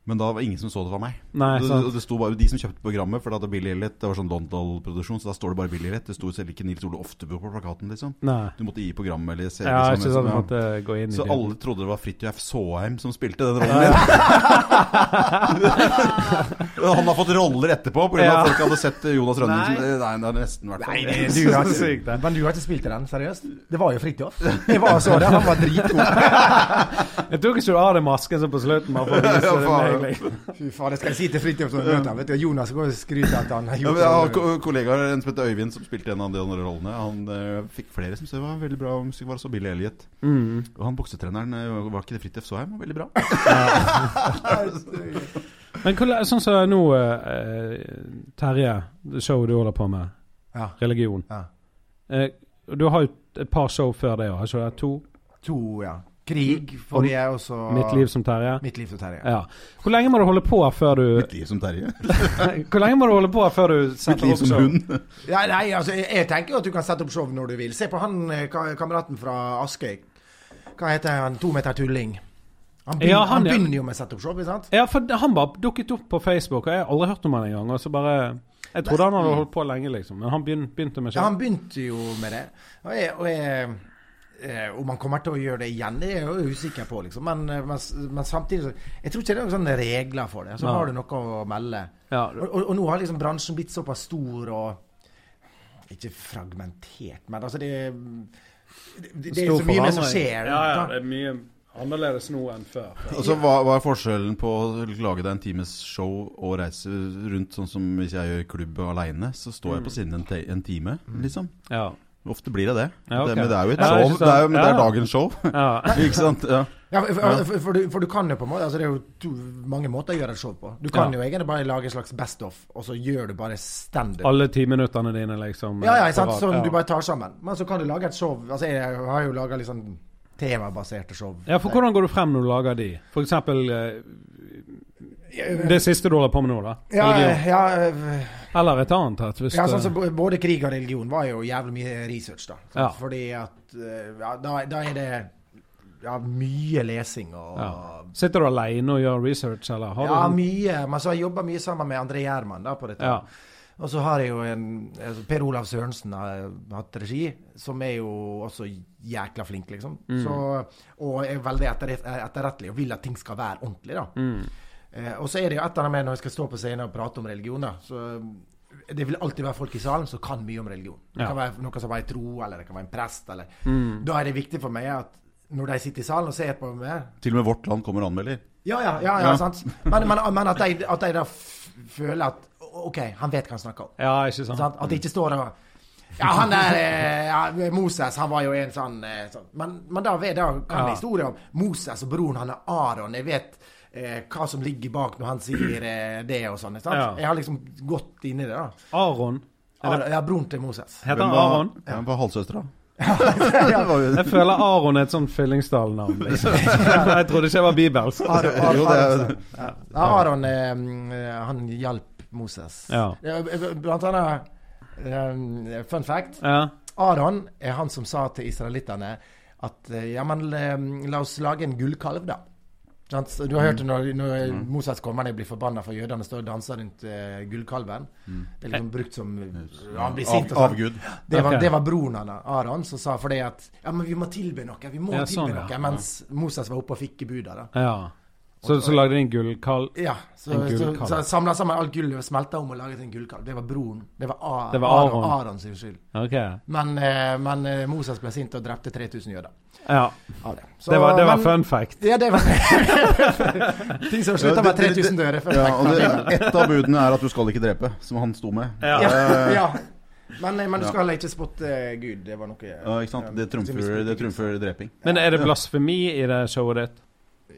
[SPEAKER 2] men da var det ingen som så det var meg.
[SPEAKER 1] Nei,
[SPEAKER 2] det,
[SPEAKER 1] sant.
[SPEAKER 2] det sto bare De som kjøpte programmet, for da hadde Billy Elliot Det var sånn London-produksjon, så da står det bare Billy Elliot. Det sto selv ikke Nils Ole Oftebø på plakaten, liksom.
[SPEAKER 1] Nei.
[SPEAKER 2] Du måtte gi programmet eller se
[SPEAKER 1] Ja, ikke
[SPEAKER 2] liksom, hvem
[SPEAKER 1] sånn at
[SPEAKER 2] som-
[SPEAKER 1] du måtte gå inn i
[SPEAKER 2] så
[SPEAKER 1] det.
[SPEAKER 2] alle trodde det var Fridtjof Saaheim som spilte den rollen min. Han har fått roller etterpå pga.
[SPEAKER 1] Ja.
[SPEAKER 2] at folk hadde sett Jonas
[SPEAKER 1] Nei.
[SPEAKER 2] Rønningsen. Nei. Nei, det har nesten vært
[SPEAKER 3] Nei,
[SPEAKER 2] sånn.
[SPEAKER 3] det, du har
[SPEAKER 1] Så sykt, det.
[SPEAKER 3] ikke, men du har ikke spilt i den, seriøst? Det var jo Fridtjof. Jeg var og så det, han var dritgod.
[SPEAKER 1] Jeg tok ikke du av deg masken som på slutten. Bare for å vise
[SPEAKER 2] Ja,
[SPEAKER 1] det
[SPEAKER 2] faen.
[SPEAKER 1] meg, liksom.
[SPEAKER 3] Fy faen, det skal jeg si til Fridtjof når jeg møter ham. Vet du, Jonas går og skryter at han har
[SPEAKER 2] Ja,
[SPEAKER 3] gjort
[SPEAKER 2] men jeg har
[SPEAKER 3] sånn.
[SPEAKER 2] ko- kollegaer, en som heter Øyvind, som spilte en av de andre rollene. Han eh, fikk flere som sa det var veldig bra musikk. Var også Billy Elliot.
[SPEAKER 1] Mm.
[SPEAKER 2] Og han boksetreneren, eh, var ikke det Fridtjof Saaheim? Var Veldig bra.
[SPEAKER 1] Men hvordan- sånn som nå, eh, Terje, det showet du holder på med,
[SPEAKER 3] Ja.
[SPEAKER 1] religion
[SPEAKER 3] Ja.
[SPEAKER 1] eh, Du har jo et par show før det òg, har ikke du det? To?
[SPEAKER 3] To, ja. Krig forrige, og så
[SPEAKER 1] Mitt liv som Terje?
[SPEAKER 3] Mitt liv som Terje.
[SPEAKER 1] Ja. Hvor lenge må du holde på før du
[SPEAKER 2] Mitt liv som Terje.
[SPEAKER 1] Hvor lenge må du holde på før du
[SPEAKER 2] Mitt
[SPEAKER 1] setter
[SPEAKER 2] liv
[SPEAKER 1] opp
[SPEAKER 2] som
[SPEAKER 1] show?
[SPEAKER 2] hund.
[SPEAKER 3] Ja, nei, altså, jeg, jeg tenker jo at du kan sette opp show når du vil. Se på han eh, ka- kameraten fra Askøy. Hva heter han? To meter tulling. Han begynner,
[SPEAKER 1] Ja, han,
[SPEAKER 3] han,
[SPEAKER 1] ja.
[SPEAKER 3] begynner jo med å sette opp show, ikke sant?
[SPEAKER 1] Ja, for han bare dukket opp på Facebook, og jeg har aldri hørt om han engang. Og så bare Jeg trodde han hadde holdt på lenge, liksom, men han begyn- begynte med
[SPEAKER 3] Ja,
[SPEAKER 1] show.
[SPEAKER 3] han begynte jo med det. Og, jeg, og jeg, eh, om han kommer til å gjøre det igjen, det er jeg jo usikker på, liksom. Men, eh, men, s- men samtidig så Jeg tror ikke det er noen sånne regler for det. Så
[SPEAKER 1] Nei.
[SPEAKER 3] har du noe å melde.
[SPEAKER 1] Ja.
[SPEAKER 3] Og, og, og nå har liksom bransjen blitt såpass stor og Ikke fragmentert, men altså det det, det, det er
[SPEAKER 1] Stor
[SPEAKER 3] så mye mer som
[SPEAKER 1] forandring.
[SPEAKER 3] skjer.
[SPEAKER 1] Ja, ja,
[SPEAKER 3] da.
[SPEAKER 1] det er mye annerledes nå enn før.
[SPEAKER 2] Og så hva, hva er forskjellen på å lage deg en times show og reise
[SPEAKER 1] Mm.
[SPEAKER 2] rundt, sånn som hvis jeg gjør klubb aleine, så står jeg på scenen en, te- en time, liksom.
[SPEAKER 1] Ja.
[SPEAKER 2] Ofte blir det det.
[SPEAKER 1] Ja, ok.
[SPEAKER 2] det men det er jo et
[SPEAKER 1] Ja,
[SPEAKER 2] show.
[SPEAKER 1] ikke sant.
[SPEAKER 2] Det er jo, men det er
[SPEAKER 1] Ja.
[SPEAKER 2] dagens show.
[SPEAKER 1] Ja.
[SPEAKER 2] ikke sant? Ja.
[SPEAKER 3] Ja, for, for, for, for, du, for du kan jo på en måte altså Det er jo to, mange måter å gjøre et show på. Du kan
[SPEAKER 1] Ja.
[SPEAKER 3] jo egentlig bare lage en slags best of, og så gjør du bare standup.
[SPEAKER 1] Alle timinuttene dine, liksom.
[SPEAKER 3] Ja, ja,
[SPEAKER 1] eh,
[SPEAKER 3] ikke sant?
[SPEAKER 1] på rad.
[SPEAKER 3] Sånn
[SPEAKER 1] Ja.
[SPEAKER 3] du bare tar sammen. Men så kan du lage et show. Altså Jeg har jo laga litt sånn temabaserte show.
[SPEAKER 1] Ja, for hvordan går du frem når du lager de? For eksempel eh, det siste du holder på med nå, da?
[SPEAKER 3] ja,
[SPEAKER 1] Religion.
[SPEAKER 3] ja,
[SPEAKER 1] Eller et annet et, hvis
[SPEAKER 3] ja,
[SPEAKER 1] det-
[SPEAKER 3] sånn som bo- både krig og religion var jo jævlig mye research, da.
[SPEAKER 1] Ja.
[SPEAKER 3] Fordi at eh, ja, da, da er det ja, mye lesing og
[SPEAKER 1] Ja. Sitter du aleine og gjør research, eller har
[SPEAKER 3] Ja,
[SPEAKER 1] du sånn-
[SPEAKER 3] mye. Men så har jeg jobba mye sammen med André Gjerman da, på dette.
[SPEAKER 1] Ja.
[SPEAKER 3] Og så har jeg jo en altså Per Olav Sørensen har hatt regi, som er jo også jækla flink, liksom. Så, og er veldig etter, etterrettelig og vil at ting skal være ordentlig, da. Eh, og så er det jo et eller annet med når jeg skal stå på scenen og prate om religion, da. Så eh, det vil alltid være folk i salen som kan mye om religion. Det
[SPEAKER 1] Ja.
[SPEAKER 3] kan være noen som er i tro, eller det kan være en prest, eller Da er det viktig for meg at når de sitter i salen og ser på meg
[SPEAKER 2] Til og med Vårt Land kommer og anmelder.
[SPEAKER 3] ja, ja, ja, ja,
[SPEAKER 2] Ja.
[SPEAKER 3] sant. Men, men, men at, de, at de da f- føler at OK, han vet hva han snakker om.
[SPEAKER 1] Ja, ikke sant?
[SPEAKER 3] Sant? At det ikke står der Ja, han der eh, ja, Moses, han var jo en sånn, eh, sånn. Men, men da, vet, da kan
[SPEAKER 1] Ja.
[SPEAKER 3] jeg historien om Moses og broren han er Aron. Jeg vet eh, hva som ligger bak når han sier eh, det og sånn. Sant?
[SPEAKER 1] Ja.
[SPEAKER 3] Jeg har liksom gått inn i det, da.
[SPEAKER 1] Aron? Er det,
[SPEAKER 3] Aron, ja, broren til Moses.
[SPEAKER 1] heter han Aron?
[SPEAKER 2] Ja, var halvsøstera.
[SPEAKER 1] Jeg føler Aron er et sånt Fyllingsdal-navn. liksom. Jeg trodde ikke jeg var bibelsk.
[SPEAKER 3] Aron, Aron,
[SPEAKER 2] Jo, det
[SPEAKER 3] Aronsen. ja.
[SPEAKER 2] er-
[SPEAKER 3] Ja, Aron eh, han hjalp Moses.
[SPEAKER 1] Ja.
[SPEAKER 3] Ja, Blant annet eh, Fun fact.
[SPEAKER 1] Ja.
[SPEAKER 3] Aron er han som sa til israelittene at eh, ja, men eh, la oss lage en gullkalv, da. Sant? Så Du har hørt det når, når Moses kommer og blir forbanna for jødene står og danser rundt eh, gullkalven. Det er liksom brukt som ja, Han blir sint
[SPEAKER 2] Av,
[SPEAKER 3] og sånn.
[SPEAKER 2] av Gud.
[SPEAKER 3] Det var,
[SPEAKER 1] Ok.
[SPEAKER 3] det var broren han, Aron, som sa for det at Ja, men vi må tilbe noe. Vi må
[SPEAKER 1] Ja,
[SPEAKER 3] tilbe
[SPEAKER 1] sånn, ja.
[SPEAKER 3] noe. Mens Moses var oppe og fikk i buda, da.
[SPEAKER 1] ja. Så, så lagde de en gullkall
[SPEAKER 3] Ja, så,
[SPEAKER 1] En gullkalv.
[SPEAKER 3] så, så samla sammen alt gullet, smelta om og laget en gullkalv. Det var broren. Det var, A
[SPEAKER 1] Det var
[SPEAKER 3] Aron.
[SPEAKER 1] Aron.
[SPEAKER 3] Aron sin skyld.
[SPEAKER 1] Ok.
[SPEAKER 3] Men, eh, men eh, Moses ble sint og drepte 3000 jøder.
[SPEAKER 1] Ja.
[SPEAKER 3] Av det. Så-
[SPEAKER 1] Det var, det var
[SPEAKER 3] men-
[SPEAKER 1] fun fact.
[SPEAKER 3] Ja, det var Ting som slutta med
[SPEAKER 2] Ja, det- det-
[SPEAKER 3] 3000 dører. for-
[SPEAKER 2] Ja, og det, et av budene er at du skal ikke drepe, som han sto med.
[SPEAKER 1] Ja.
[SPEAKER 2] Eh,
[SPEAKER 3] ja. Men, eh, men du skal heller ikke spotte eh, Gud. Det var noe eh,
[SPEAKER 2] ja, ikke sant? Det trumfer, det trumfer dreping.
[SPEAKER 1] Men eh, er det blasfemi i det showet ditt?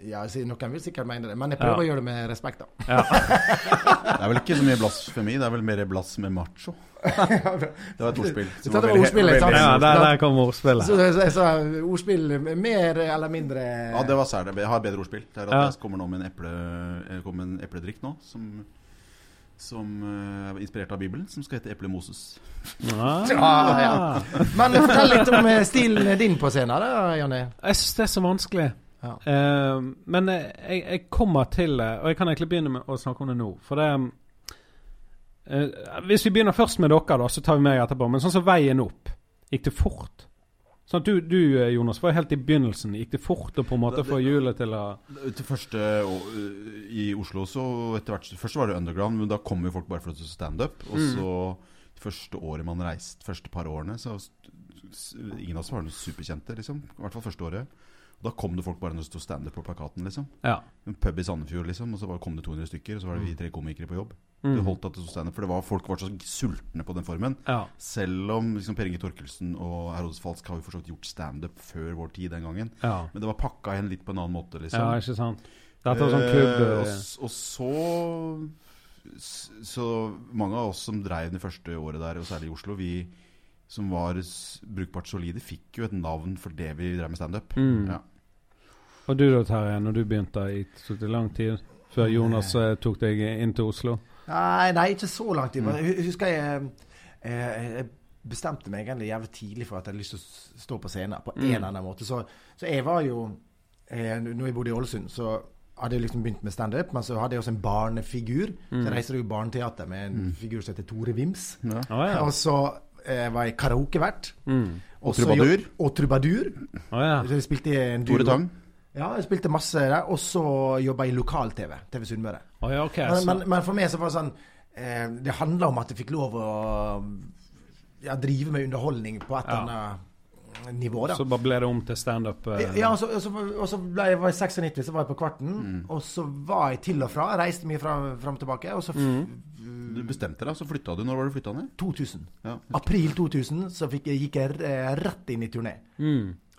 [SPEAKER 3] Ja, så Noen vil sikkert mene det, men jeg
[SPEAKER 1] Ja.
[SPEAKER 3] prøver å gjøre det med respekt, da.
[SPEAKER 2] Det er vel ikke så mye blasfemi, det er vel mer blass med macho. Det var et ordspill.
[SPEAKER 3] Så det var ordspillet, ikke sant?
[SPEAKER 1] Ja, der, der kommer ordspillet.
[SPEAKER 3] Så, så, så, så ordspill mer eller mindre
[SPEAKER 2] Ja, det var særlig. Jeg har et bedre ordspill. Det er at
[SPEAKER 1] Ja.
[SPEAKER 2] jeg kommer nå med en, eple, jeg kommer med en epledrikk nå, som, som eh, er inspirert av Bibelen, som skal hete Eple Moses.
[SPEAKER 1] Ah.
[SPEAKER 3] Ja, ja. Men fortell litt om eh, stilen din på scenen, da, Jonny.
[SPEAKER 1] Jeg syns det er så vanskelig.
[SPEAKER 3] Ja.
[SPEAKER 1] Eh, men eh, jeg, jeg kommer til det, og jeg kan egentlig begynne med å snakke om det nå. For det eh, Hvis vi begynner først med dere, da, så tar vi meg etterpå. Men sånn som veien opp, gikk det fort? Sånn at du, du eh, Jonas, var helt i begynnelsen. Gikk det fort å på en måte
[SPEAKER 2] Det- det-
[SPEAKER 1] få hjulet til å
[SPEAKER 2] Til første å- i Oslo så etter hvert Først var det underground, men da kom jo folk bare for å se standup. Og så det første året man reiste, første par årene, så st- s- Ingen av oss var noe superkjente, liksom. I hvert fall første året. Da kom det folk bare når det sto standup på plakaten, liksom.
[SPEAKER 1] Ja.
[SPEAKER 2] En pub i Sandefjord, liksom, og så bare kom det 200 stykker, og så var det vi tre komikere på jobb.
[SPEAKER 1] Mm.
[SPEAKER 2] Det holdt at det sto standup, for det var, folk var så sultne på den formen.
[SPEAKER 1] ja.
[SPEAKER 2] Selv om liksom, Per Inge Torkelsen og Herodes Falsk har jo for så vidt gjort standup før vår tid den gangen.
[SPEAKER 1] Ja.
[SPEAKER 2] Men det var pakka igjen litt på en annen måte, liksom.
[SPEAKER 1] ja, ikke sant? Dette var sånn klubb...
[SPEAKER 2] Eh, og,
[SPEAKER 1] eh,
[SPEAKER 2] s- og så s- Så mange av oss som dreiv det første året der, og særlig i Oslo, vi som var s- brukbart solide, fikk jo et navn for det vi drev med standup.
[SPEAKER 1] Mm.
[SPEAKER 2] Ja.
[SPEAKER 1] Og du da, Terje, når du begynte i så det lang tid før Jonas eh, tok deg inn til Oslo?
[SPEAKER 3] Nei, nei, ikke så langt. Jeg bare- hu- husker jeg, eh, jeg bestemte meg egentlig jævlig tidlig for at jeg hadde lyst til å s- stå på scenen på en eller annen måte. Så, så jeg var jo eh, Når jeg bodde i Ålesund, så hadde jeg liksom begynt med standup, men så hadde jeg også en barnefigur. Så jeg reiste jo i barneteater med en figur som heter Tore Vims.
[SPEAKER 1] Å ja.
[SPEAKER 3] Og så eh, var jeg karaokevert.
[SPEAKER 1] Mm.
[SPEAKER 2] Og
[SPEAKER 3] så
[SPEAKER 2] trubadur.
[SPEAKER 3] jo- Og trubadur.
[SPEAKER 1] Å ja.
[SPEAKER 3] Så jeg spilte i en duo.
[SPEAKER 2] Tore Tang.
[SPEAKER 3] Ja, jeg spilte masse der. Og så jobba jeg i lokal-TV. TV Sunnmøre.
[SPEAKER 1] Å ja, ok.
[SPEAKER 3] Men,
[SPEAKER 1] så-
[SPEAKER 3] men, men for meg så var det sånn eh, Det handla om at jeg fikk lov å ja, drive med underholdning på et eller
[SPEAKER 1] Ja.
[SPEAKER 3] annet nivå, da.
[SPEAKER 1] Så bare ble det om til standup. eh,
[SPEAKER 3] Ja, ja, og så, og så, og så ble jeg, var jeg 96, så var jeg på Kvarten. Og så var jeg til og fra. Jeg reiste mye fra, fram og tilbake. Og så f
[SPEAKER 2] Du bestemte deg, så flytta du. Når var du flytta ned?
[SPEAKER 3] 2000.
[SPEAKER 2] Ja.
[SPEAKER 3] April 2000 så fikk, jeg- gikk jeg r- eh, rett inn i turné.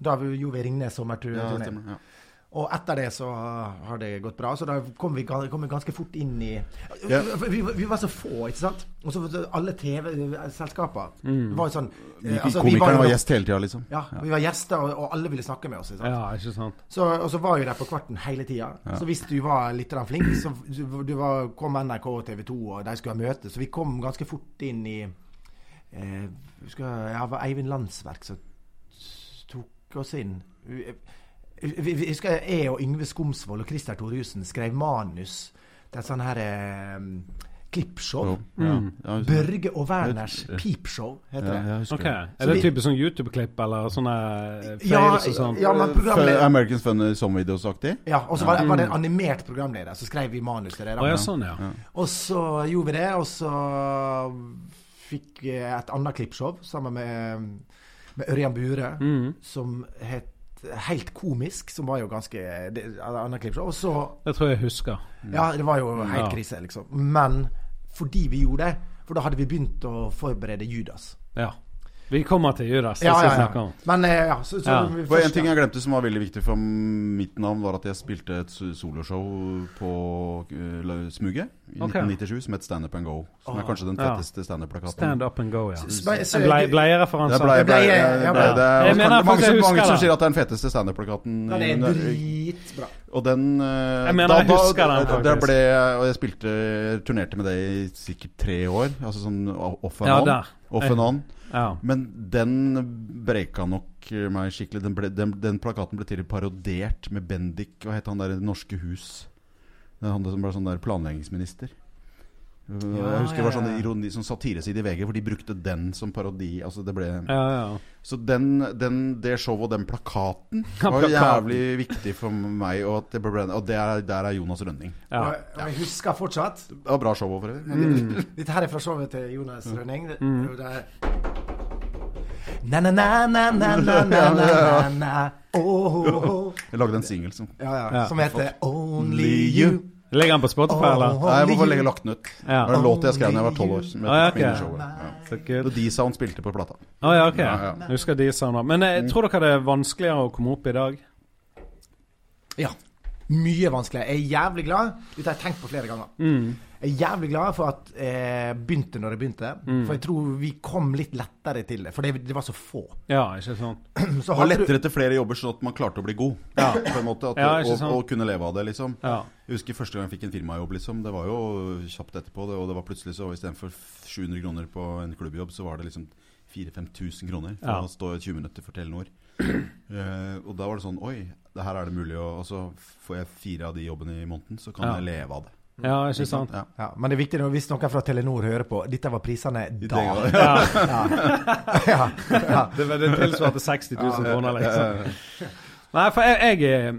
[SPEAKER 3] Da vi- gjorde vi Ringnes sommerturné.
[SPEAKER 2] Ja, det stemmer. Ja.
[SPEAKER 3] Og etter det så har det gått bra. Så da kom vi, ga- kom vi ganske fort inn i
[SPEAKER 2] Ja.
[SPEAKER 3] vi, vi var så få, ikke sant? Og så alle TV-selskaper. Det var jo sånn eh,
[SPEAKER 2] Mik-
[SPEAKER 3] altså, vi
[SPEAKER 2] Komikeren
[SPEAKER 3] jo-
[SPEAKER 2] var gjest hele tida, liksom.
[SPEAKER 3] Ja, vi var gjester, og, og alle ville snakke med oss. Ikke sant?
[SPEAKER 1] Ja, ikke sant.
[SPEAKER 3] Så, og så var jo de på kvarten hele tida. Så hvis du var litt grann flink, så du, du var, kom NRK og TV 2, og de skulle ha møte. Så vi kom ganske fort inn i eh, husker, jeg, ja, det var Eivind Landsverk som tok oss inn. Vi, vi, vi, husker jeg og Yngve Skomsvold og Christer Thorjussen skrev manus til et sånn her eh, klippshow.
[SPEAKER 2] Jo,
[SPEAKER 1] Mm.
[SPEAKER 2] ja. Ja, jeg husker det.
[SPEAKER 3] Børge og Werners Peepshow heter
[SPEAKER 2] Ja,
[SPEAKER 3] det.
[SPEAKER 2] jeg husker
[SPEAKER 1] Ok,
[SPEAKER 2] det.
[SPEAKER 1] Er det
[SPEAKER 3] vi-
[SPEAKER 1] type sånn YouTube-klipp eller sånne
[SPEAKER 3] Ja,
[SPEAKER 1] fails og sånn?
[SPEAKER 3] ja, men
[SPEAKER 2] Fun,
[SPEAKER 3] programleder
[SPEAKER 2] Americans Fun Some-videosaktig?
[SPEAKER 3] Ja, og så var, var det
[SPEAKER 2] Mm.
[SPEAKER 3] en animert programleder, så skrev vi manus til det. da.
[SPEAKER 1] Å ja, sånn, ja.
[SPEAKER 3] Og så gjorde vi det, og så fikk vi et annet klippshow sammen med, med Ørjan Bure,
[SPEAKER 1] Mm.
[SPEAKER 3] som het Helt komisk, som var jo ganske det, et annet klippshow. Og så
[SPEAKER 1] Det tror jeg jeg husker.
[SPEAKER 3] Ja, det var jo helt
[SPEAKER 1] Mm. Ja.
[SPEAKER 3] krise, liksom. Men fordi vi gjorde det, for da hadde vi begynt å forberede Judas.
[SPEAKER 1] Ja. Vi kommer til Judas, det
[SPEAKER 3] Ja,
[SPEAKER 1] skal
[SPEAKER 3] ja,
[SPEAKER 1] vi snakke
[SPEAKER 3] ja.
[SPEAKER 1] om.
[SPEAKER 3] Men eh, ja, så, så
[SPEAKER 1] Ja.
[SPEAKER 3] vi
[SPEAKER 2] Det var en
[SPEAKER 3] først-
[SPEAKER 2] ting jeg glemte som var veldig viktig for mitt navn, var at jeg spilte et s- soloshow på eh, Lø- Smuget i
[SPEAKER 1] Ok. Ah,
[SPEAKER 2] 1997 som het Stand Up and Go. Som er kanskje den
[SPEAKER 1] ja.
[SPEAKER 2] tetteste standup-plakaten.
[SPEAKER 1] Stand up and go, ja.
[SPEAKER 3] Spe- se-
[SPEAKER 1] Blei-
[SPEAKER 2] Det er
[SPEAKER 1] Bleiereferanser.
[SPEAKER 2] blei, blei,
[SPEAKER 3] Bleie,
[SPEAKER 2] blei,
[SPEAKER 3] ja,
[SPEAKER 2] blei,
[SPEAKER 1] ja.
[SPEAKER 2] det er
[SPEAKER 1] Jeg
[SPEAKER 2] kanskje-
[SPEAKER 1] mener
[SPEAKER 2] mange,
[SPEAKER 1] faktisk jeg
[SPEAKER 2] som- mange
[SPEAKER 1] husker
[SPEAKER 2] som
[SPEAKER 1] det.
[SPEAKER 2] sier at det er den feteste standup-plakaten.
[SPEAKER 3] Den er
[SPEAKER 2] i-
[SPEAKER 3] dritbra.
[SPEAKER 2] Og den eh,
[SPEAKER 1] Jeg mener jeg husker den,
[SPEAKER 2] da-
[SPEAKER 1] faktisk.
[SPEAKER 2] da ble, jeg- Og jeg spilte turnerte med det i sikkert tre år. Altså sånn off and
[SPEAKER 1] Ja,
[SPEAKER 2] on.
[SPEAKER 1] der.
[SPEAKER 2] Off and on.
[SPEAKER 1] Ja.
[SPEAKER 2] Men den breka nok meg skikkelig. Den, ble, den, den plakaten ble til og med parodert med Bendik. Hva het han der i Det norske hus? Det er Han som ble sånn der planleggingsminister. Uh, jeg husker det var
[SPEAKER 3] ja,
[SPEAKER 2] sånn
[SPEAKER 3] ja.
[SPEAKER 2] ironi, sånn satireside i VG, for de brukte den som parodi. Altså det ble
[SPEAKER 1] Ja, ja.
[SPEAKER 2] Så den, den, det showet og den plakaten
[SPEAKER 1] Ja,
[SPEAKER 2] var jo
[SPEAKER 1] plakaten.
[SPEAKER 2] jævlig viktig for meg. Og, at det ble, og det er, der er Jonas Rønning.
[SPEAKER 1] ja.
[SPEAKER 3] Og, og jeg husker fortsatt
[SPEAKER 2] Det var bra show for øvrig. men-
[SPEAKER 3] Dette her er fra showet til Jonas
[SPEAKER 2] Mm.
[SPEAKER 3] Rønning. Det- det er- Na, na, na, na, na, na, na, na, na. Oh, oh, oh.
[SPEAKER 1] Mm.
[SPEAKER 2] Jeg lagde en singel som
[SPEAKER 3] Ja, ja.
[SPEAKER 1] Ja.
[SPEAKER 3] Som heter Only You.
[SPEAKER 1] Ligger han på Spotify, eller?
[SPEAKER 2] Nei, jeg må bare legge lagt den ut. Det
[SPEAKER 1] Ja.
[SPEAKER 2] var en låt jeg skrev da jeg var tolv år. Som
[SPEAKER 1] Ah, ja,
[SPEAKER 2] jeg tok med inn i
[SPEAKER 1] ok.
[SPEAKER 2] showet. Ja.
[SPEAKER 1] Så kult.
[SPEAKER 2] Det var de som spilte på plata.
[SPEAKER 1] Å ja, ok.
[SPEAKER 2] Ja, ja.
[SPEAKER 1] Jeg Husker de savna. Men jeg tror dere det er vanskeligere å komme opp i dag?
[SPEAKER 3] Ja. Mye vanskeligere. Jeg er jævlig glad. Dette har jeg tenkt på flere ganger.
[SPEAKER 2] Mm.
[SPEAKER 3] Jeg er jævlig glad for at jeg begynte når jeg begynte.
[SPEAKER 2] Mm.
[SPEAKER 3] For jeg tror vi kom litt lettere til det. For det, det var så få.
[SPEAKER 1] Ja, ikke sant?
[SPEAKER 3] Så
[SPEAKER 2] Det var
[SPEAKER 3] hadde du-
[SPEAKER 2] lettere til flere jobber, sånn at man klarte å bli god. På en måte, at,
[SPEAKER 1] Ja, ikke
[SPEAKER 2] og,
[SPEAKER 1] sant.
[SPEAKER 2] og kunne leve av det, liksom.
[SPEAKER 1] Ja.
[SPEAKER 2] Jeg husker første gang jeg fikk en firmajobb, liksom. Det var jo kjapt etterpå, det, og det var plutselig så istedenfor 700 kroner på en klubbjobb, så var det liksom 4000-5000 kroner for
[SPEAKER 1] Ja.
[SPEAKER 2] å stå i 20 minutter for Telenor. Eh, og da var det sånn Oi, det her er det mulig å Og så får jeg fire av de jobbene i måneden, så kan
[SPEAKER 1] Ja.
[SPEAKER 2] jeg leve av det.
[SPEAKER 1] Ja, ikke sant?
[SPEAKER 2] Ja.
[SPEAKER 3] Ja, men det er viktig nå, hvis noen fra Telenor hører på. Dette var prisene da.
[SPEAKER 2] det-
[SPEAKER 1] Ja.
[SPEAKER 3] Ja. Ja.
[SPEAKER 1] Det, var- det tilsvarte 60 000 kroner,
[SPEAKER 2] Eh,
[SPEAKER 1] liksom. Nei, for jeg, jeg eh,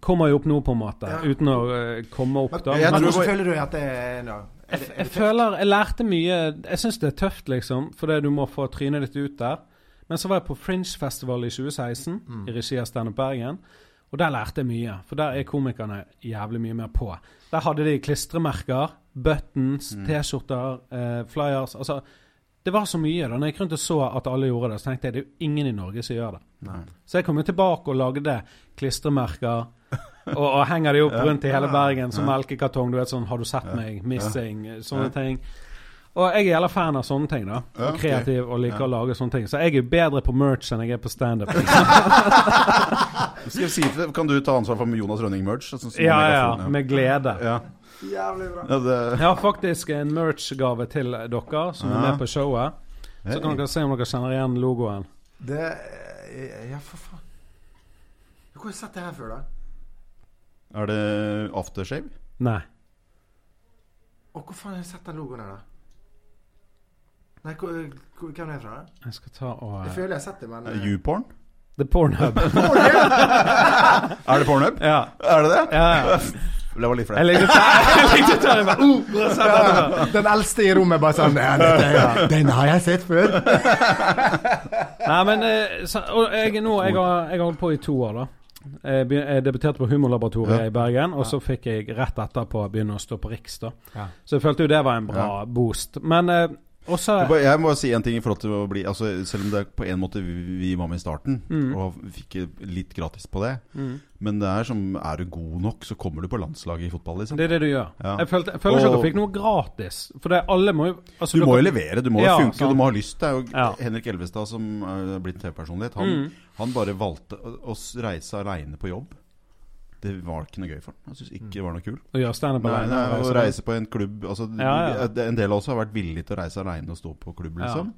[SPEAKER 1] kommer jo opp nå, på en måte. Uten å eh, komme opp, da.
[SPEAKER 2] Jeg
[SPEAKER 3] Men hvordan
[SPEAKER 2] tror det var-
[SPEAKER 3] føler du at det er nå? Er
[SPEAKER 1] Jeg,
[SPEAKER 3] det- er
[SPEAKER 1] jeg
[SPEAKER 3] det-
[SPEAKER 1] føler Jeg lærte mye Jeg syns det er tøft, liksom, fordi du må få trynet ditt ut der. Men så var jeg på Fringe-festival i 2016 i regi av Standup Bergen. Og der lærte jeg mye, for der er komikerne jævlig mye mer på. Der hadde de klistremerker, buttons, T-skjorter, eh, flyers Altså, det var så mye. da Når jeg gikk rundt og så at alle gjorde det, så tenkte jeg det er jo ingen i Norge som gjør det.
[SPEAKER 2] Nei.
[SPEAKER 1] Så jeg kom jo tilbake og lagde klistremerker. Og, og henger de opp rundt i hele Bergen som melkekartong. Du vet sånn 'Har du sett meg?' 'Missing', sånne ting. Og jeg er jævla fan av sånne ting, da.
[SPEAKER 2] Ja,
[SPEAKER 1] Og
[SPEAKER 2] ok.
[SPEAKER 1] kreativ og liker å lage sånne ting. Så jeg er jo bedre på merch enn jeg er på standup.
[SPEAKER 2] Skal jeg si til, kan du ta ansvar for Jonas Rønning-merch? Altså, som
[SPEAKER 1] Ja,
[SPEAKER 2] megafon,
[SPEAKER 1] ja, med glede.
[SPEAKER 2] ja.
[SPEAKER 3] Jævlig bra.
[SPEAKER 2] Ja, det,
[SPEAKER 1] Jeg har faktisk en merch-gave til dere som er med på showet. Så kan
[SPEAKER 2] Hei.
[SPEAKER 1] dere se om dere kjenner igjen logoen.
[SPEAKER 3] Det Ja, for faen. Hvor har jeg sett det her før, da?
[SPEAKER 2] Er det aftershave?
[SPEAKER 1] Nei.
[SPEAKER 3] Og hvor faen har jeg sett den logoen her, da? Nei, hvor, hvor, hvem er det fra? da?
[SPEAKER 1] Jeg skal ta og
[SPEAKER 3] Jeg føler jeg har sett det, men
[SPEAKER 2] Eh, YouPorn?
[SPEAKER 1] The Pornhub.
[SPEAKER 2] Er det pornhub?
[SPEAKER 1] Ja.
[SPEAKER 2] Er det det?
[SPEAKER 1] ja, ja.
[SPEAKER 2] Det var litt
[SPEAKER 1] Jeg
[SPEAKER 2] flaut.
[SPEAKER 1] likte jeg likte å ta det bare, uh, og så bare
[SPEAKER 3] Den eldste i rommet bare sånn ja, dette, ja. Den har jeg sett før.
[SPEAKER 1] Nei, men eh, så, og jeg, nå, jeg, har, jeg har holdt på i to år, da. Jeg, begyn- jeg debuterte på Humorlaboratoriet
[SPEAKER 2] Ja.
[SPEAKER 1] i Bergen, og så fikk jeg rett etterpå begynne å stå på Riks. da.
[SPEAKER 3] Ja.
[SPEAKER 1] Så jeg følte jo det var en bra boost. Men eh, også
[SPEAKER 2] Jeg må- Jeg må si en ting i forhold til å bli altså, Selv om det er på en måte vi vi var med i starten,
[SPEAKER 1] Mm.
[SPEAKER 2] og fikk litt gratis på det
[SPEAKER 1] mm,
[SPEAKER 2] Men det er som Er du god nok, så kommer du på landslaget i fotball, liksom.
[SPEAKER 1] Det er det du gjør.
[SPEAKER 2] Ja.
[SPEAKER 1] Jeg følte, jeg føler ikke at
[SPEAKER 2] Og-
[SPEAKER 1] du fikk noe gratis. For det er alle må jo altså,
[SPEAKER 2] Du må jo
[SPEAKER 1] kan-
[SPEAKER 2] levere, du må jo
[SPEAKER 1] Ja,
[SPEAKER 2] funke,
[SPEAKER 1] sant.
[SPEAKER 2] og du må ha lyst. Det er jo
[SPEAKER 1] Ja.
[SPEAKER 2] Henrik Elvestad som er blitt TV-personlighet. Han,
[SPEAKER 1] Mm.
[SPEAKER 2] han bare valgte å, å reise aleine på jobb. Det var ikke noe gøy for ham. Han syntes ikke det var noe kult.
[SPEAKER 1] å gjøre standup
[SPEAKER 2] Nei,
[SPEAKER 1] alene.
[SPEAKER 2] nei,
[SPEAKER 1] og
[SPEAKER 2] Å
[SPEAKER 1] reise.
[SPEAKER 2] reise på en klubb altså,
[SPEAKER 1] Ja, ja.
[SPEAKER 2] En del av oss har vært villige til å reise aleine og stå på klubb,
[SPEAKER 1] Ja.
[SPEAKER 2] liksom.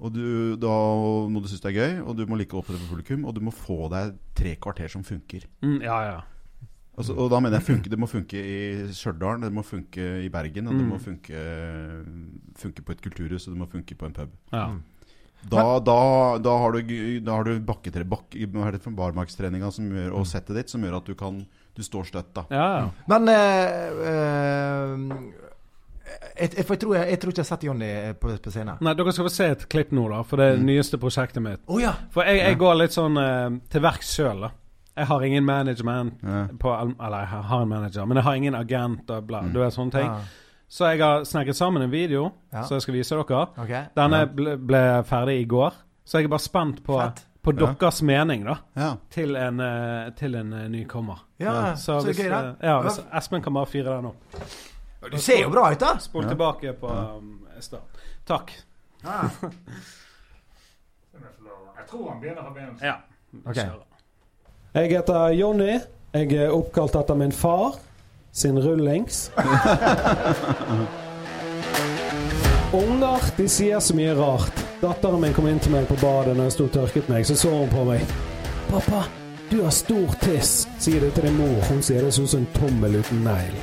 [SPEAKER 2] Og du, da må du synes det er gøy, og du må like å opptre for publikum. Og du må få deg tre kvarter som funker.
[SPEAKER 1] Mm, ja, ja.
[SPEAKER 2] Altså, og da mener jeg funke, det må funke i Stjørdal, det må funke i Bergen, og det
[SPEAKER 1] Mm.
[SPEAKER 2] må funke, funke på et kulturhus, og det må funke på en pub.
[SPEAKER 1] ja.
[SPEAKER 3] Mm.
[SPEAKER 2] Da, da, da har du, gu- da har du bakketre, bak, hva er det for barmarkstreninga som gjør, og settet ditt som gjør at du kan Du står støtt, da.
[SPEAKER 1] ja, ja.
[SPEAKER 3] Men eh, eh, jeg, jeg, for jeg, tror jeg, jeg tror ikke jeg har sett Jonny på, på scenen. Å
[SPEAKER 1] Nei, dere skal få se et klipp nå, da, for det er
[SPEAKER 2] Mm.
[SPEAKER 1] det nyeste prosjektet mitt.
[SPEAKER 3] ja!
[SPEAKER 1] For jeg, jeg går litt sånn eh, til verks sjøl, da. Jeg har ingen management
[SPEAKER 2] Ja.
[SPEAKER 1] på Eller jeg har en manager, men jeg har ingen agent og bla, du vet sånne ting.
[SPEAKER 3] Ja.
[SPEAKER 1] Så jeg har snekret sammen en video
[SPEAKER 3] Ja.
[SPEAKER 1] som jeg skal vise dere.
[SPEAKER 3] Ok.
[SPEAKER 1] Denne
[SPEAKER 2] Ja.
[SPEAKER 1] ble, ble ferdig i går, så jeg er bare spent på,
[SPEAKER 3] Fett.
[SPEAKER 1] på
[SPEAKER 2] Ja.
[SPEAKER 1] deres mening, da.
[SPEAKER 2] Ja.
[SPEAKER 1] Til en, eh, til en eh, nykommer.
[SPEAKER 3] Ja, så,
[SPEAKER 1] hvis,
[SPEAKER 3] gøy, da.
[SPEAKER 1] eh, Ja, hvis Espen kan bare fyre den opp.
[SPEAKER 3] du ser jo bra ut, da.
[SPEAKER 1] Spol
[SPEAKER 2] Ja.
[SPEAKER 1] tilbake på
[SPEAKER 2] Ja.
[SPEAKER 1] um, start. Takk.
[SPEAKER 4] Jeg tror han begynner fra begynnelsen.
[SPEAKER 1] Ja.
[SPEAKER 3] Ok.
[SPEAKER 1] Kjører.
[SPEAKER 5] Jeg heter Jonny. Jeg er oppkalt etter min far sin rullings. Unger de sier så mye rart. Datteren min kom inn til meg på badet når jeg sto og tørket meg, så så hun på meg. 'Pappa, du har stor tiss', sier det til din mor. Hun sier det ser ut som en tommel uten negl.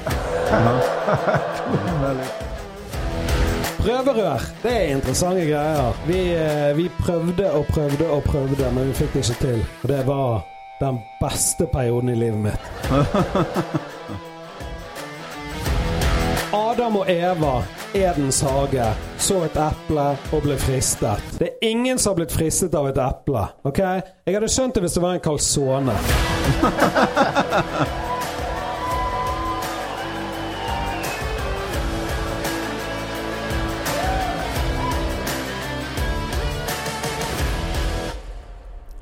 [SPEAKER 5] Prøverør, det er interessante greier. Vi, eh, vi prøvde og prøvde og prøvde, men vi fikk det ikke til. Og det var den beste perioden i livet mitt. Adam og Eva, Edens hage, så et eple og ble fristet. Det er ingen som har blitt fristet av et eple. ok? Jeg hadde skjønt det hvis det var en calzone.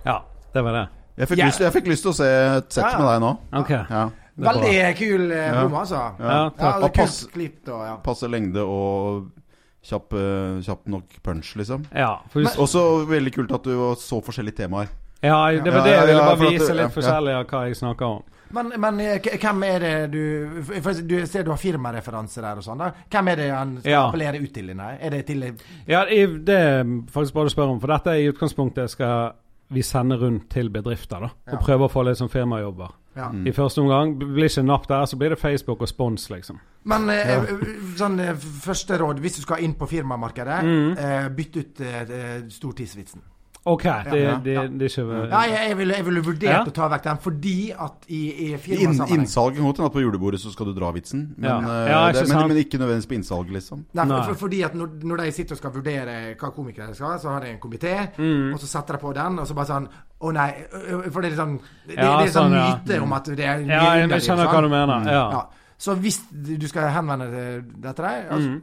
[SPEAKER 1] Ja, det var det.
[SPEAKER 2] Jeg fikk,
[SPEAKER 3] Ja.
[SPEAKER 2] lyst, jeg fikk lyst til å se et sett
[SPEAKER 3] Ja, ja.
[SPEAKER 2] med deg nå.
[SPEAKER 1] Ok.
[SPEAKER 2] Ja.
[SPEAKER 1] Det er
[SPEAKER 3] Veldig kul eh,
[SPEAKER 2] Ja.
[SPEAKER 3] rom, altså.
[SPEAKER 2] Ja.
[SPEAKER 1] Ja,
[SPEAKER 3] Ja,
[SPEAKER 1] takk.
[SPEAKER 3] det er kult
[SPEAKER 2] pass-
[SPEAKER 3] klipp, da. Ja.
[SPEAKER 2] Passe lengde og kjapp, eh, kjapp nok punch, liksom.
[SPEAKER 1] Ja, for hvis,
[SPEAKER 2] Også veldig kult at du var så forskjellige temaer.
[SPEAKER 1] ja, det
[SPEAKER 2] Ja,
[SPEAKER 1] var det
[SPEAKER 2] ja,
[SPEAKER 1] jeg ville
[SPEAKER 2] ja, for
[SPEAKER 1] bare
[SPEAKER 2] at du-
[SPEAKER 1] vise
[SPEAKER 2] ja,
[SPEAKER 1] litt
[SPEAKER 2] ja.
[SPEAKER 1] forskjellig av hva jeg snakker om.
[SPEAKER 3] Men, men eh, k- hvem er det du for Du jeg ser du har firmareferanser der og sånn. da Hvem er det han skal
[SPEAKER 1] Ja.
[SPEAKER 3] appellere ut til? Nei? Er det til
[SPEAKER 1] Ja, i- det er faktisk bare å spørre om, for dette er i utgangspunktet skal vi sende rundt til bedrifter, da. Og
[SPEAKER 3] Ja. Mm.
[SPEAKER 1] prøve å få litt sånn firmajobber.
[SPEAKER 3] ja.
[SPEAKER 1] I første omgang b- blir ikke napp der, så blir det Facebook og spons, liksom.
[SPEAKER 3] Men eh, sånn eh, første råd, hvis du skal inn på firmamarkedet,
[SPEAKER 1] Mm.
[SPEAKER 3] eh, bytt ut eh, eh, stortidsvitsen.
[SPEAKER 1] OK, det,
[SPEAKER 2] Ja.
[SPEAKER 1] det, det er ikke
[SPEAKER 3] Ja, jeg, jeg ville jeg ville vurdert
[SPEAKER 1] Ja.
[SPEAKER 3] å ta vekk den, fordi at i, i
[SPEAKER 2] Inn,
[SPEAKER 3] firmasammenheng
[SPEAKER 2] innsalget godt hende at på julebordet så skal du dra vitsen, men,
[SPEAKER 1] Ja.
[SPEAKER 2] eh,
[SPEAKER 1] Ja, ikke
[SPEAKER 2] det, men,
[SPEAKER 1] sant.
[SPEAKER 2] men ikke nødvendigvis på innsalget, liksom.
[SPEAKER 3] Nei, for,
[SPEAKER 1] Nei.
[SPEAKER 3] for, fordi at når, når de sitter og skal vurdere hva komikere de skal, ha, så har de en komité,
[SPEAKER 1] Mm.
[SPEAKER 3] og så setter de på den, og så bare sånn Å nei. ø, ø, For det er litt sånn Det,
[SPEAKER 1] Ja,
[SPEAKER 3] det er
[SPEAKER 1] sånn,
[SPEAKER 3] sånn
[SPEAKER 1] ja.
[SPEAKER 3] myte om at det er
[SPEAKER 1] Ja, jeg, jeg skjønner hva du mener. Ja.
[SPEAKER 3] Ja. Så hvis du skal henvende deg til deg altså,
[SPEAKER 1] Mm.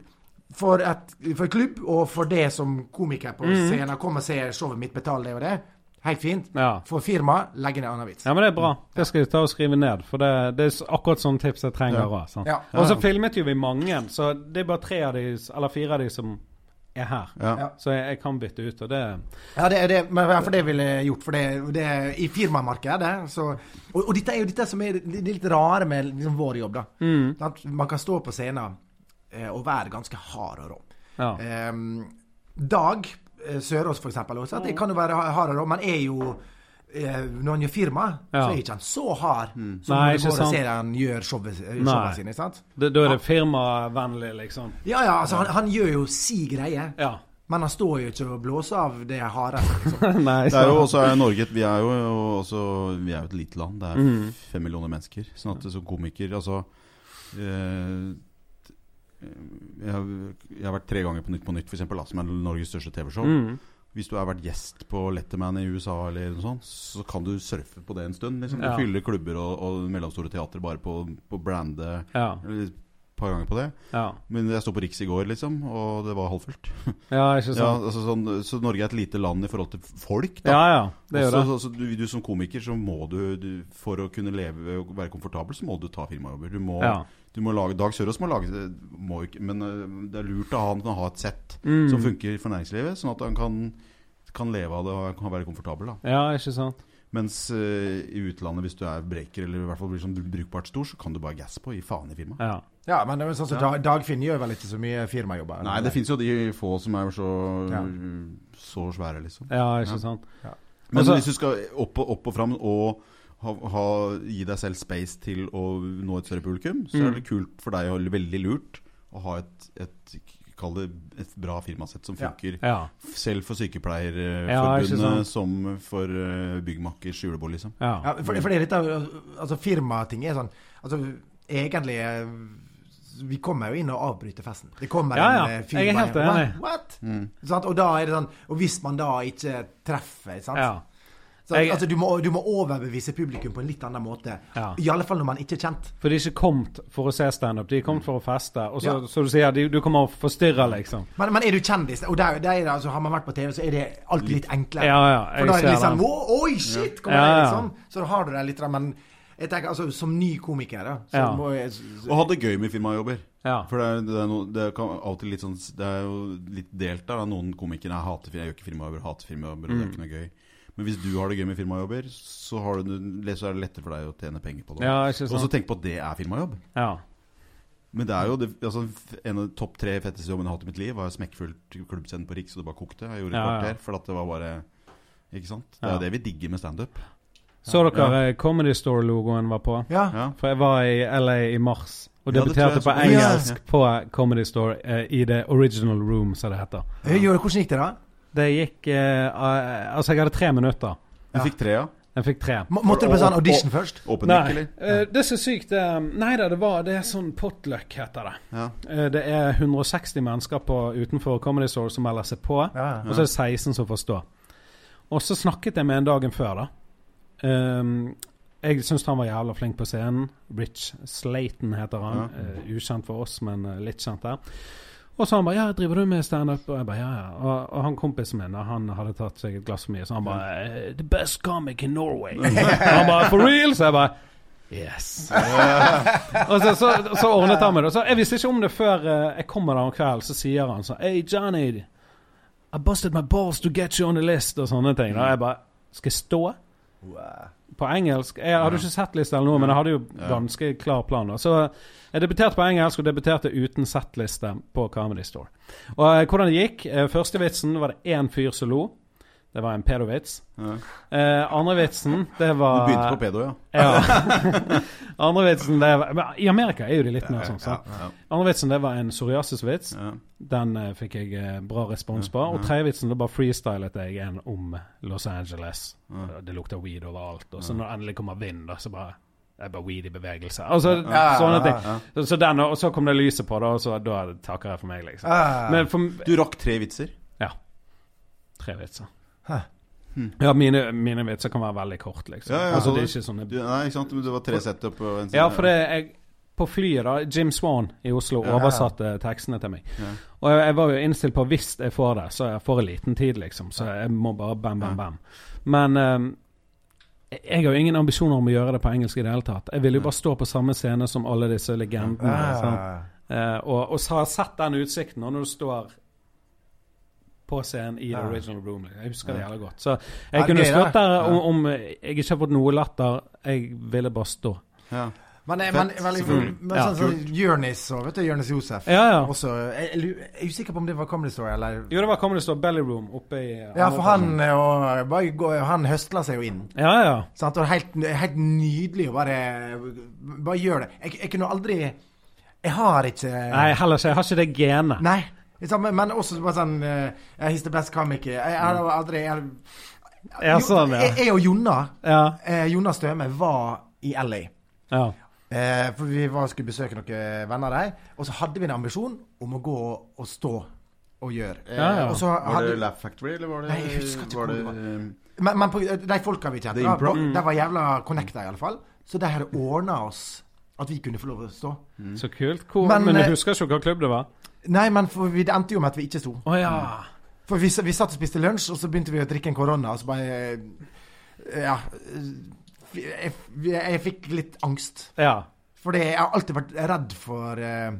[SPEAKER 3] for, et, for klubb og for det som komiker på scenen Kom og se showet mitt, betal det og det. Helt fint.
[SPEAKER 1] Mm. Ja.
[SPEAKER 3] For firma, legg ned annen vits.
[SPEAKER 1] ja, men det er bra. Det skal jeg ta og skrive ned, for det, det er s- akkurat sånne tips jeg trenger
[SPEAKER 2] Ja.
[SPEAKER 1] òg.
[SPEAKER 3] Ja.
[SPEAKER 1] Og så filmet jo vi mange, så det er bare tre av de, s- eller fire av de som er her.
[SPEAKER 2] Ja.
[SPEAKER 3] Ja.
[SPEAKER 1] Så jeg, jeg kan bytte ut, og det
[SPEAKER 3] Ja, det, det, men for det ville jeg gjort. For det, det i firmamarkedet så Og, og dette er jo dette som er det det litt rare med liksom, vår jobb, da.
[SPEAKER 1] Mm.
[SPEAKER 3] At man kan stå på scenen eh, og være ganske hard og rå.
[SPEAKER 1] Ja.
[SPEAKER 3] Ehm, Dag eh, Sørås, for eksempel, også, at det kan jo være ha- hard og rå, men er jo eh, når han gjør firma,
[SPEAKER 1] Ja. Mm.
[SPEAKER 3] så er ikke han så hard som
[SPEAKER 1] Nei,
[SPEAKER 3] når du
[SPEAKER 1] ikke
[SPEAKER 3] går
[SPEAKER 1] sant.
[SPEAKER 3] og ser han gjør showet,
[SPEAKER 1] Nei.
[SPEAKER 3] showet sine. Ikke sant?
[SPEAKER 1] det- Da er det firmavennlig, liksom.
[SPEAKER 3] Ja, ja, altså, han, han gjør jo si greie.
[SPEAKER 1] Ja.
[SPEAKER 3] Men han står jo ikke og blåser av det hardeste. Liksom.
[SPEAKER 1] Nei,
[SPEAKER 2] Det er
[SPEAKER 1] så-
[SPEAKER 2] jo også er Norge et- Vi er jo også Vi er jo et lite land. Det
[SPEAKER 1] Mm.
[SPEAKER 2] er fem millioner mennesker. Sånn at som komiker Altså eh, jeg, har, jeg har vært tre ganger på Nytt på Nytt, for eksempel, da, som er Norges største TV-show.
[SPEAKER 1] mm.
[SPEAKER 2] Hvis du har vært gjest på Letterman i USA, eller noe sånt, så kan du surfe på det en stund. Liksom. Du
[SPEAKER 1] Ja.
[SPEAKER 2] fyller klubber og, og mellomstore teater bare på, på brande
[SPEAKER 1] Ja.
[SPEAKER 2] eller et par ganger på det.
[SPEAKER 1] Ja.
[SPEAKER 2] Men jeg sto på Riks i går, liksom, og det var halvfullt.
[SPEAKER 1] ja, ikke
[SPEAKER 2] Ja,
[SPEAKER 1] sant?
[SPEAKER 2] altså, sånn, så Norge er et lite land i forhold til folk, da.
[SPEAKER 1] Ja ja, det er jo
[SPEAKER 2] så,
[SPEAKER 1] det.
[SPEAKER 2] så, så altså, du, du som komiker, så må du, du For å kunne leve og være komfortabel, så må du ta firmajobber. Du må,
[SPEAKER 1] Ja.
[SPEAKER 2] du må lage Dag Sørås må lage det, må ikke, men øh, det er lurt å ha han kan ha et sett
[SPEAKER 1] Mm.
[SPEAKER 2] som funker for næringslivet, sånn at han kan, kan leve av det og kan være komfortabel. Da.
[SPEAKER 1] Ja, ikke sant.
[SPEAKER 2] Mens øh, i utlandet, hvis du er breaker eller i hvert fall blir sånn brukbart stor, så kan du bare gasse på i faen i firmaet.
[SPEAKER 1] Ja.
[SPEAKER 3] Ja, men det er jo sånn som Dag- Dagfinn gjør vel ikke så mye firmajobber?
[SPEAKER 2] Nei, det fins jo de få som er så,
[SPEAKER 3] Ja.
[SPEAKER 2] så svære, liksom.
[SPEAKER 1] Ja,
[SPEAKER 2] Ja.
[SPEAKER 1] ikke sant.
[SPEAKER 2] Men
[SPEAKER 1] Altså-
[SPEAKER 2] hvis du skal opp og, opp og fram og ha, ha, gi deg selv space til å nå et større publikum, så
[SPEAKER 1] Mm.
[SPEAKER 2] er det kult for deg og veldig lurt å ha et, et Kall det et bra firmasett som
[SPEAKER 3] Ja.
[SPEAKER 2] funker.
[SPEAKER 1] Ja.
[SPEAKER 2] Selv for
[SPEAKER 1] Ja, ikke
[SPEAKER 2] Sykepleierforbundet
[SPEAKER 1] sant.
[SPEAKER 2] som for eh, byggmakers julebord, liksom.
[SPEAKER 3] Ja,
[SPEAKER 1] Ja.
[SPEAKER 3] for, for det er litt av Altså, firmating er sånn Altså, egentlig eh, Vi kommer jo inn og avbryter festen. Det kommer
[SPEAKER 1] Ja,
[SPEAKER 3] en
[SPEAKER 1] ja.
[SPEAKER 3] eh,
[SPEAKER 1] Jeg er helt
[SPEAKER 3] igjen.
[SPEAKER 1] enig. Mm.
[SPEAKER 3] What? Sant? Og da er det sånn Og hvis man da ikke treffer, sant
[SPEAKER 1] ja.
[SPEAKER 3] så,
[SPEAKER 1] Jeg-
[SPEAKER 3] altså, du, må, du må overbevise publikum på en litt annen måte.
[SPEAKER 1] Ja.
[SPEAKER 3] I alle fall når man ikke er kjent.
[SPEAKER 1] For de er ikke kommet for å se standup, de er kommet for å feste. Og så,
[SPEAKER 3] Ja.
[SPEAKER 1] så du sier, de, du kommer og forstyrrer, liksom.
[SPEAKER 3] Men, men er du kjendis, og der, der er det, altså, har man vært på TV, så er det alltid litt enklere.
[SPEAKER 1] Ja, ja, jeg
[SPEAKER 3] For da er det litt
[SPEAKER 1] ser
[SPEAKER 2] liksom
[SPEAKER 3] sånn «Å, Oi, shit! Kom
[SPEAKER 1] Ja,
[SPEAKER 3] her,
[SPEAKER 1] ja.
[SPEAKER 3] liksom. Så da har du det litt der, men jeg tenker, altså, som ny komiker, da, så
[SPEAKER 1] Ja.
[SPEAKER 3] må jeg
[SPEAKER 2] Og ha det gøy med firmajobber.
[SPEAKER 1] Ja.
[SPEAKER 2] For det er, det, er no, det, kan av og til litt sånn, det er jo litt delt der. da. Noen komikere jeg hater, fir- jeg gjør ikke firmajobber, hater firmajobber,
[SPEAKER 1] Mm.
[SPEAKER 2] og det er ikke noe gøy. Men hvis du har det gøy med firmajobber, så, har du, så er det lettere for deg å tjene penger på det.
[SPEAKER 1] Ja, ikke
[SPEAKER 2] Og så
[SPEAKER 1] sant.
[SPEAKER 2] tenk på at det er firmajobb.
[SPEAKER 1] Ja.
[SPEAKER 2] Men det er jo det, altså, en av de topp tre fetteste jobbene jeg har hatt i mitt liv. Var smekkfullt klubbscene på Riks, og det bare kokte. Jeg gjorde et
[SPEAKER 1] Ja, ja.
[SPEAKER 2] kvarter, for at det var bare Ikke sant? Det er
[SPEAKER 1] Ja.
[SPEAKER 2] jo det vi digger med standup.
[SPEAKER 1] Så dere eh, Comedy Store-logoen var på?
[SPEAKER 3] ja.
[SPEAKER 2] Ja.
[SPEAKER 1] For jeg var i LA i mars og
[SPEAKER 2] Ja, det tror jeg
[SPEAKER 1] debuterte
[SPEAKER 2] jeg
[SPEAKER 1] på
[SPEAKER 2] så.
[SPEAKER 1] engelsk
[SPEAKER 2] Ja.
[SPEAKER 1] på Comedy Store eh, i The Original Room, som det heter.
[SPEAKER 3] Jeg gjorde- Hvordan gikk det, da?
[SPEAKER 1] Det gikk eh, eh, Altså, jeg hadde tre minutter.
[SPEAKER 2] Jeg fikk trea.
[SPEAKER 1] Jeg fikk tre.
[SPEAKER 3] Må- Måtte du på sånn audition først?
[SPEAKER 2] Åpen mic,
[SPEAKER 1] Nei,
[SPEAKER 2] eller?
[SPEAKER 1] eh, det som er sykt eh, Nei da, det var Det er sånn potluck, heter det.
[SPEAKER 2] Ja.
[SPEAKER 1] Eh, det er 160 mennesker på, utenfor Comedy Store som melder seg på.
[SPEAKER 3] Ja.
[SPEAKER 1] Og så er det 16 som får stå. Og så snakket jeg med en dagen før, da. Ehm, jeg syns han var jævla flink på scenen. Rich Slayton heter han. Eh, ukjent for oss, men eh, litt kjent der. Og så han bare 'Ja, driver du med standup?' Og jeg bare 'Ja, ja'. Og, og han kompisen min, da, han hadde tatt seg et glass for mye, så han bare eh, 'The best comic in Norway'. han bare 'For real?' Så jeg bare Yes. og så, så, så ordnet han med det. Og Så jeg visste ikke om det før eh, jeg kommer der om kvelden, så sier han sånn Hey, Johnny, i busted my balls to get you on the list, og sånne ting. Da jeg bare Skal jeg stå? På engelsk? Jeg hadde jo ikke sett liste eller noe, men jeg hadde jo ganske klar plan. da. Så jeg debuterte på engelsk, og debuterte uten settliste på Comedy Store. Og eh, hvordan det gikk eh, Første vitsen var det én fyr som lo. Det var en pedovits.
[SPEAKER 2] Ja.
[SPEAKER 1] Eh, andre vitsen, det
[SPEAKER 2] Du
[SPEAKER 1] var
[SPEAKER 2] begynte på pedo, ja.
[SPEAKER 1] ja. Andre vitsen, det var men I Amerika er jo de litt mer sånn, sant?
[SPEAKER 2] ja.
[SPEAKER 1] Andre vitsen, det var en psoriasisvits.
[SPEAKER 2] ja.
[SPEAKER 1] Den eh, fikk jeg eh, bra respons på. Og tredjevitsen, da bare freestylet jeg en om Los Angeles. Det lukter weed overalt. Og så når det endelig kommer vind, da, så bare det er bare weed i bevegelse. Altså, sånne ting. Så, så den, og så kom det lyset på, da, og så da takker jeg for meg, liksom.
[SPEAKER 3] Ja.
[SPEAKER 1] Men for,
[SPEAKER 2] Du rakk tre vitser.
[SPEAKER 1] ja. Tre vitser. Ja, mine, mine vitser kan være veldig kort, liksom.
[SPEAKER 2] Ja, ja,
[SPEAKER 1] altså, det
[SPEAKER 2] det-
[SPEAKER 1] er ikke sånne
[SPEAKER 2] Du, nei, ikke sant? Men det var tre setup og en
[SPEAKER 1] ja, for det jeg, På flyet, da. Jim Swan i Oslo oversatte tekstene til meg. Og jeg, jeg var jo innstilt på hvis jeg får det, så jeg får en liten tid, liksom. Så jeg må bare bam, bam, bam. Men eh, jeg har jo ingen ambisjoner om å gjøre det på engelsk i det hele tatt. Jeg ville jo bare stå på samme scene som alle disse
[SPEAKER 3] Ah.
[SPEAKER 1] legendene. sant? Eh, og, og så har jeg sett den utsikten, og når du står på scenen i the original room liksom. Jeg husker det jævlig godt. Så jeg
[SPEAKER 3] Ja,
[SPEAKER 1] kunne
[SPEAKER 3] gøy, da.
[SPEAKER 1] stått der om, om jeg ikke har fått noe latter. Jeg ville bare stå.
[SPEAKER 2] Ja.
[SPEAKER 3] Men, eh, men, men, men,
[SPEAKER 2] selvfølgelig.
[SPEAKER 3] men
[SPEAKER 1] Ja.
[SPEAKER 3] sånn som Jonis og vet du, Jonis Josef
[SPEAKER 1] Ja, ja.
[SPEAKER 3] Også, jeg, jeg lu- jeg er usikker på om det var Comedy Story eller
[SPEAKER 1] Jo, det var Comedy Store Belly Room oppe i
[SPEAKER 3] Ja, for han, eh, og, bare gå- han høstla seg jo inn.
[SPEAKER 1] Ja, ja.
[SPEAKER 3] Sant? Og det er helt, det er helt nydelig å bare Bare gjør det. Jeg, jeg kunne aldri Jeg har ikke
[SPEAKER 1] Nei, heller ikke. Jeg har ikke det genet.
[SPEAKER 3] Nei. Liksom, men også bare sånn eh, He's the best comic. Jeg, jeg, har aldri jeg,
[SPEAKER 1] Ja, sånn, ja.
[SPEAKER 3] jeg, jeg og Jonna,
[SPEAKER 1] Ja.
[SPEAKER 3] eh, Jonna Støme, var i LA.
[SPEAKER 1] ja.
[SPEAKER 3] Eh, for vi var, skulle besøke noen venner der. Og så hadde vi en ambisjon om å gå og stå og gjøre. Eh,
[SPEAKER 1] Ja, ja.
[SPEAKER 3] Og så
[SPEAKER 2] Var det
[SPEAKER 3] hadde,
[SPEAKER 2] Laugh Factory, eller var det
[SPEAKER 3] Nei, jeg husker ikke
[SPEAKER 2] var
[SPEAKER 3] hvor
[SPEAKER 2] det,
[SPEAKER 3] det var.
[SPEAKER 2] eh,
[SPEAKER 3] men, men på, de folka vi kjente,
[SPEAKER 2] The
[SPEAKER 3] da,
[SPEAKER 2] Improv. Mm.
[SPEAKER 3] var- de var jævla connecta, iallfall. Så de hadde ordna oss at vi kunne få lov å stå.
[SPEAKER 1] Mm. Så kult. Hvor,
[SPEAKER 3] Men,
[SPEAKER 1] men,
[SPEAKER 3] eh,
[SPEAKER 1] jeg husker ikke hvilken klubb det var.
[SPEAKER 3] Nei, men for vi, det endte jo med at vi ikke sto.
[SPEAKER 1] Å ja.
[SPEAKER 3] For vi, s- vi satt og spiste lunsj, og så begynte vi å drikke en korona, og så bare eh, Ja. eh, Jeg, jeg, jeg fikk litt angst.
[SPEAKER 1] ja.
[SPEAKER 3] Fordi jeg har alltid vært redd for eh,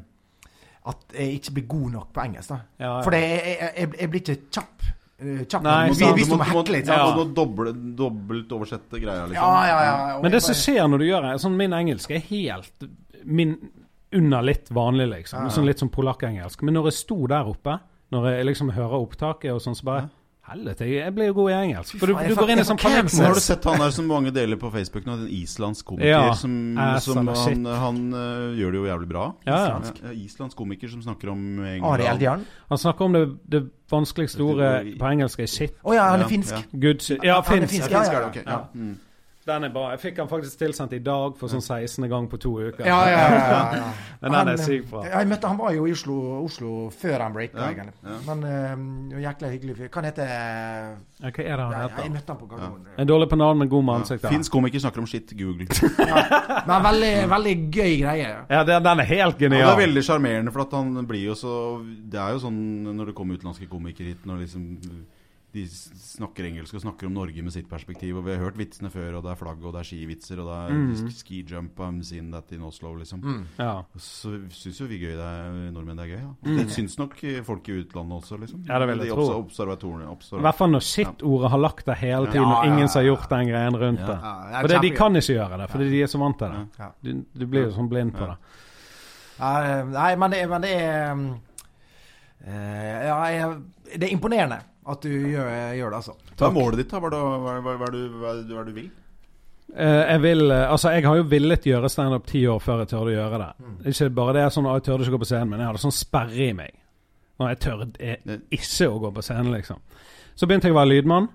[SPEAKER 3] at jeg ikke blir god nok på engelsk. da.
[SPEAKER 1] Ja, ja.
[SPEAKER 3] Fordi jeg, jeg, jeg, jeg blir ikke kjapp. eh, kjapp
[SPEAKER 1] Nei,
[SPEAKER 3] nok.
[SPEAKER 1] sant.
[SPEAKER 3] vi,
[SPEAKER 1] Du
[SPEAKER 3] vi
[SPEAKER 2] må-
[SPEAKER 3] som må hekle litt.
[SPEAKER 2] Ja,
[SPEAKER 1] Ja.
[SPEAKER 2] du må doble, dobbelt oversette greia, liksom.
[SPEAKER 3] Ja, ja, ja. og
[SPEAKER 1] Men det som
[SPEAKER 3] jeg
[SPEAKER 1] skjer når du gjør det sånn Min engelsk er helt min, under litt vanlig, liksom.
[SPEAKER 3] Ah.
[SPEAKER 1] Sånn litt som polakkengelsk. Men når jeg sto der oppe, når jeg liksom hører opptaket og sånn, så bare Helvete, jeg jeg blir jo god i engelsk. For du,
[SPEAKER 3] faen,
[SPEAKER 1] du
[SPEAKER 3] jeg
[SPEAKER 1] går inn i
[SPEAKER 3] fuck-
[SPEAKER 1] sånn
[SPEAKER 3] jeg fuck
[SPEAKER 2] Men har du
[SPEAKER 1] panikkmodus.
[SPEAKER 2] sett han der som mange deler på Facebook nå, en islandsk komiker
[SPEAKER 1] Ja.
[SPEAKER 2] som,
[SPEAKER 1] Eh,
[SPEAKER 2] som
[SPEAKER 1] sånn er
[SPEAKER 2] han, han øh, gjør det jo jævlig bra.
[SPEAKER 1] Ja, ja. Ah,
[SPEAKER 2] Islandsk. Ja, islandsk komiker som snakker om eh,
[SPEAKER 3] bare- Ariel Djarn?
[SPEAKER 1] Han snakker om det, det vanskeligste ordet
[SPEAKER 2] Det-
[SPEAKER 1] på engelsk er shit.
[SPEAKER 3] Å ja, han
[SPEAKER 2] Ja,
[SPEAKER 3] er finsk.
[SPEAKER 2] ja.
[SPEAKER 1] Good shit. Ja,
[SPEAKER 3] Han er
[SPEAKER 1] finsk.
[SPEAKER 3] finsk,
[SPEAKER 2] Ja,
[SPEAKER 3] ja,
[SPEAKER 2] finsk
[SPEAKER 3] ja,
[SPEAKER 2] er det,
[SPEAKER 3] ja.
[SPEAKER 2] ok. Ja. Mm.
[SPEAKER 1] Den er bra. Jeg fikk den faktisk tilsendt i dag for sånn 16. gang på to uker.
[SPEAKER 3] Ja, ja, ja, ja, ja.
[SPEAKER 1] Men den
[SPEAKER 3] Han, eh,
[SPEAKER 1] er sykt bra.
[SPEAKER 3] Jeg møtte, han var jo i Oslo, Oslo før han breaka.
[SPEAKER 2] Ja,
[SPEAKER 3] egentlig.
[SPEAKER 2] ja.
[SPEAKER 3] Men eh, jækla hyggelig fyr. Hva han heter
[SPEAKER 1] Ja, Hva er det han
[SPEAKER 3] Nei, Jeg
[SPEAKER 1] heter?
[SPEAKER 3] møtte han på Gardermoen.
[SPEAKER 1] En dårlig på navn, men god med
[SPEAKER 2] Ja.
[SPEAKER 1] ansiktet.
[SPEAKER 2] Finsk komiker snakker om shit, Google.
[SPEAKER 3] Men veldig, veldig gøy greie.
[SPEAKER 1] Mm. Ja, den, den er helt
[SPEAKER 2] Ja,
[SPEAKER 1] genial.
[SPEAKER 2] det er veldig sjarmerende, for at han blir jo så Det er jo sånn når det kommer utenlandske komikere hit, når liksom de snakker engelsk og snakker om Norge med sitt perspektiv. Og vi har hørt vitsene før, og det er flagg, og det er skivitser, og det er
[SPEAKER 1] Mm.
[SPEAKER 2] ski jump I'm seeing that in Oslo, liksom.
[SPEAKER 3] Mm.
[SPEAKER 1] ja.
[SPEAKER 2] Så syns jo vi gøy det er, nordmenn det er gøy. Ja. Og Det syns nok folk i utlandet også, liksom.
[SPEAKER 1] Ja, det vil jeg
[SPEAKER 2] De
[SPEAKER 1] tro.
[SPEAKER 2] obs- observatorene.
[SPEAKER 1] I
[SPEAKER 2] Observ
[SPEAKER 1] hvert fall når shit-ordet har lagt det hele tiden,
[SPEAKER 3] Ja,
[SPEAKER 1] og
[SPEAKER 3] ja,
[SPEAKER 1] ingen som har
[SPEAKER 3] ja.
[SPEAKER 1] gjort den greien rundt det.
[SPEAKER 3] Ja, det er
[SPEAKER 1] For det, de
[SPEAKER 3] kjempegøy.
[SPEAKER 1] kan ikke gjøre det, fordi de er så vant til det.
[SPEAKER 3] Ja.
[SPEAKER 1] Du, du blir jo sånn blind på det.
[SPEAKER 3] Ja, Nei, men det, men det er um, eh, Ja, jeg, det er imponerende at du gjør, gjør det, altså.
[SPEAKER 2] Hva er målet ditt, da? Hva er det hva, hva, hva, er det du- hva, er det- hva er det du vil?
[SPEAKER 1] Eh, jeg vil, eh, altså jeg har jo villet gjøre standup ti år før jeg tørde å gjøre det.
[SPEAKER 3] Mm.
[SPEAKER 1] Ikke bare det sånn, «Å, jeg tørde ikke gå på scenen, men jeg hadde sånn sperre i meg. Når jeg tørde jeg ikke å gå på scenen, liksom. Så begynte jeg å være lydmann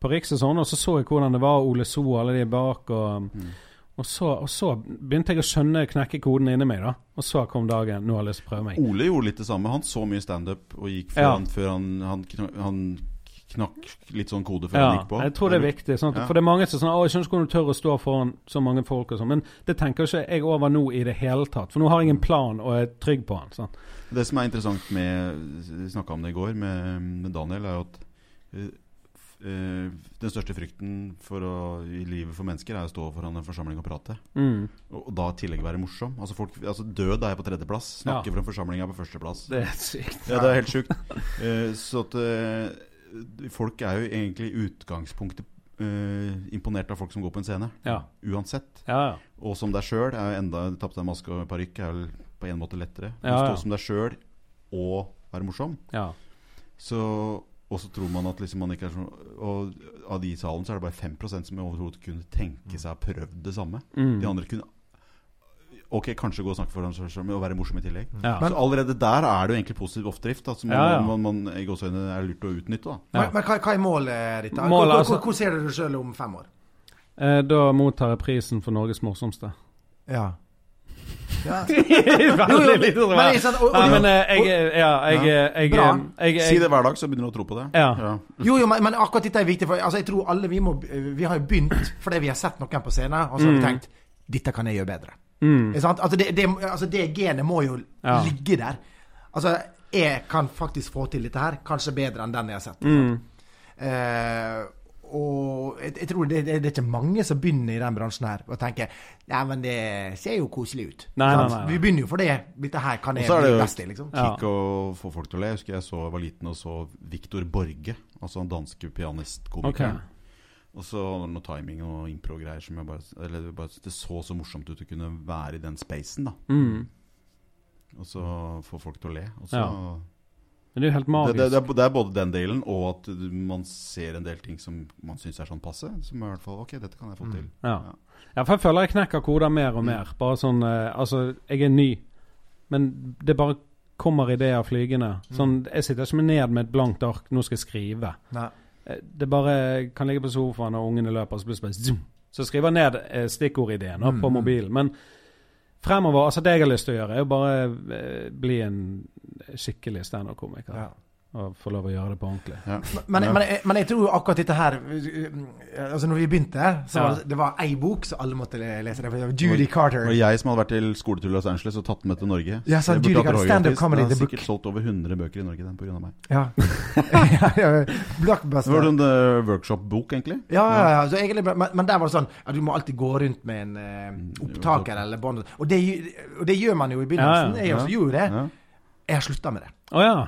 [SPEAKER 1] på Riks og sånn, og så så jeg hvordan det var Ole So og alle de bak. Og,
[SPEAKER 2] Mm.
[SPEAKER 1] og, så, og så begynte jeg å skjønne knekke koden inni meg, da. Og så kom dagen. Nå har jeg lyst til å prøve meg.
[SPEAKER 2] Ole gjorde litt det samme. Han så mye standup og gikk før,
[SPEAKER 1] Ja.
[SPEAKER 2] han, før han, han, kn- han knakk litt sånn kode før han
[SPEAKER 1] Ja,
[SPEAKER 2] gikk på.
[SPEAKER 1] jeg tror det er viktig. Sånn at,
[SPEAKER 2] Ja.
[SPEAKER 1] For det er mange som sånn, å, jeg skjønner ikke hvordan du tør å stå foran så mange folk og sånn. Men det tenker ikke jeg over nå i det hele tatt. For nå har jeg en plan og er trygg på den. sant?
[SPEAKER 2] Det som er interessant med Vi snakka om det i går med, med Daniel, er jo at eh, f- eh, den største frykten for å, i livet for mennesker er å stå foran en forsamling og prate.
[SPEAKER 1] Mm.
[SPEAKER 2] Og, og da i tillegg være morsom. Altså, folk, altså Død er på tredjeplass. Snakke
[SPEAKER 1] Ja.
[SPEAKER 2] foran forsamling er på førsteplass.
[SPEAKER 1] Det er sykt.
[SPEAKER 2] Ja, det er helt sjukt. Eh, så at eh, folk er jo egentlig i utgangspunktet eh, imponert av folk som går på en scene.
[SPEAKER 1] Ja.
[SPEAKER 2] Uansett.
[SPEAKER 1] Ja, ja.
[SPEAKER 2] Og som deg sjøl er jo enda Ta på deg maske og parykk er vel på en måte lettere.
[SPEAKER 1] Ja,
[SPEAKER 2] Men å
[SPEAKER 1] ja.
[SPEAKER 2] Stå som deg sjøl og være morsom.
[SPEAKER 1] ja.
[SPEAKER 2] Så og så tror man at liksom man ikke er sånn Og av de i salen så er det bare 5 som overhodet kunne tenke seg å prøve det samme.
[SPEAKER 1] Mm.
[SPEAKER 2] De andre kunne Ok, kanskje gå og snakke foran seg sjøl, men å være morsom i tillegg.
[SPEAKER 1] ja.
[SPEAKER 2] så allerede der er det jo egentlig positiv oppdrift. Da, som
[SPEAKER 1] Mm. Ja, ja.
[SPEAKER 2] man, man, man i gåseøynene er lurt å utnytte. Da.
[SPEAKER 1] Ja.
[SPEAKER 3] Men, men hva, hva er målet ditt? da?
[SPEAKER 1] Målet,
[SPEAKER 3] Hvor- hvor-
[SPEAKER 1] altså-
[SPEAKER 3] hvor- Hvor ser du deg sjøl om fem år?
[SPEAKER 1] Eh, da mottar jeg prisen for Norges morsomste.
[SPEAKER 3] Ja. Jo, jo,
[SPEAKER 1] Veldig lite
[SPEAKER 3] men det er sant, og- og-
[SPEAKER 1] Nei, men eh, jeg Ja, jeg, jeg, jeg,
[SPEAKER 3] Bra.
[SPEAKER 1] jeg, jeg
[SPEAKER 2] Si det hver dag, så begynner du å tro på det.
[SPEAKER 1] Ja.
[SPEAKER 3] Jo, jo, men, men akkurat dette er viktig. For altså, jeg tror alle vi må Vi har jo begynt fordi vi har sett noen på scenen, og så har vi tenkt Dette kan jeg gjøre bedre. Ikke sant? Altså, det, det, altså, det genet må jo
[SPEAKER 1] Ja.
[SPEAKER 3] ligge der. Altså, jeg kan faktisk få til dette her. Kanskje bedre enn den jeg har sett.
[SPEAKER 1] Mm.
[SPEAKER 3] Eh, og jeg, jeg tror det, det, det er ikke mange som begynner i den bransjen her og tenker Nei, men det ser jo koselig ut.
[SPEAKER 1] Nei,
[SPEAKER 3] Sant?
[SPEAKER 1] nei, nei, nei.
[SPEAKER 3] Vi begynner jo for det. Dette her kan
[SPEAKER 2] Og
[SPEAKER 3] jeg
[SPEAKER 2] så er
[SPEAKER 3] bli
[SPEAKER 2] det jo
[SPEAKER 3] best i, liksom.
[SPEAKER 1] Ja.
[SPEAKER 2] kick å få folk til å le. Jeg husker jeg så jeg var liten og så Viktor Borge, altså han danske pianistkomikeren. Og så var det noe timing og impro-greier som jeg bare Eller det bare, det så så morsomt ut å kunne være i den spacen, da.
[SPEAKER 1] mm.
[SPEAKER 2] Og så få folk til å le. Og så,
[SPEAKER 1] Ja. Men det er jo helt
[SPEAKER 2] det,
[SPEAKER 1] magisk.
[SPEAKER 2] det, det, er, det er både den delen og at du- man ser en del ting som man syns er sånn passe. Som er i hvert fall Ok, dette kan jeg
[SPEAKER 3] Mm.
[SPEAKER 2] få til.
[SPEAKER 1] Ja. ja, for jeg føler jeg knekker koder mer og mer. Bare sånn eh, Altså, jeg er ny, men det bare kommer ideer flygende. Sånn, jeg sitter ikke med ned med et blankt ark, nå skal jeg skrive.
[SPEAKER 3] Nei.
[SPEAKER 1] Eh, Det bare kan ligge på sofaen, og ungene løper, og så plutselig bare zoom. Så skriver jeg ned eh, stikkordideen da, på
[SPEAKER 3] Mm.
[SPEAKER 1] mobilen. Men fremover altså Det jeg har lyst til å gjøre, er jo bare eh, bli en skikkelig standup-komiker.
[SPEAKER 3] Ja.
[SPEAKER 1] Og få lov å gjøre det på ordentlig.
[SPEAKER 2] Ja.
[SPEAKER 3] Men,
[SPEAKER 2] Ja.
[SPEAKER 3] men, jeg- men jeg tror jo akkurat dette her uh, Altså når vi begynte her, så var
[SPEAKER 1] Ja.
[SPEAKER 3] det, det var ei bok så alle måtte le- lese. Det var Judy Carter.
[SPEAKER 2] Det var jeg som hadde vært til skoletur i Los Angeles og tatt den med til Norge.
[SPEAKER 3] Ja, så
[SPEAKER 2] Jeg
[SPEAKER 3] du
[SPEAKER 2] burde hatt
[SPEAKER 3] liker
[SPEAKER 2] Royalties.
[SPEAKER 3] stand-up comedy,
[SPEAKER 2] Den har
[SPEAKER 3] The
[SPEAKER 2] sikkert solgt over 100 bøker i Norge den pga. meg.
[SPEAKER 3] Ja. ja, ja,
[SPEAKER 2] Det var
[SPEAKER 3] Blockbuster.
[SPEAKER 2] en eh, workshop-bok, egentlig.
[SPEAKER 3] Ja, ja, ja. Så egentlig, men, men der var det sånn ja, du må alltid gå rundt med en eh, opptaker eller bånd. Og, det gj- og det gjør man jo i begynnelsen.
[SPEAKER 1] Ja,
[SPEAKER 3] Jeg også gjorde det.
[SPEAKER 2] Ja.
[SPEAKER 3] Jeg har slutta med det.
[SPEAKER 1] Å ja.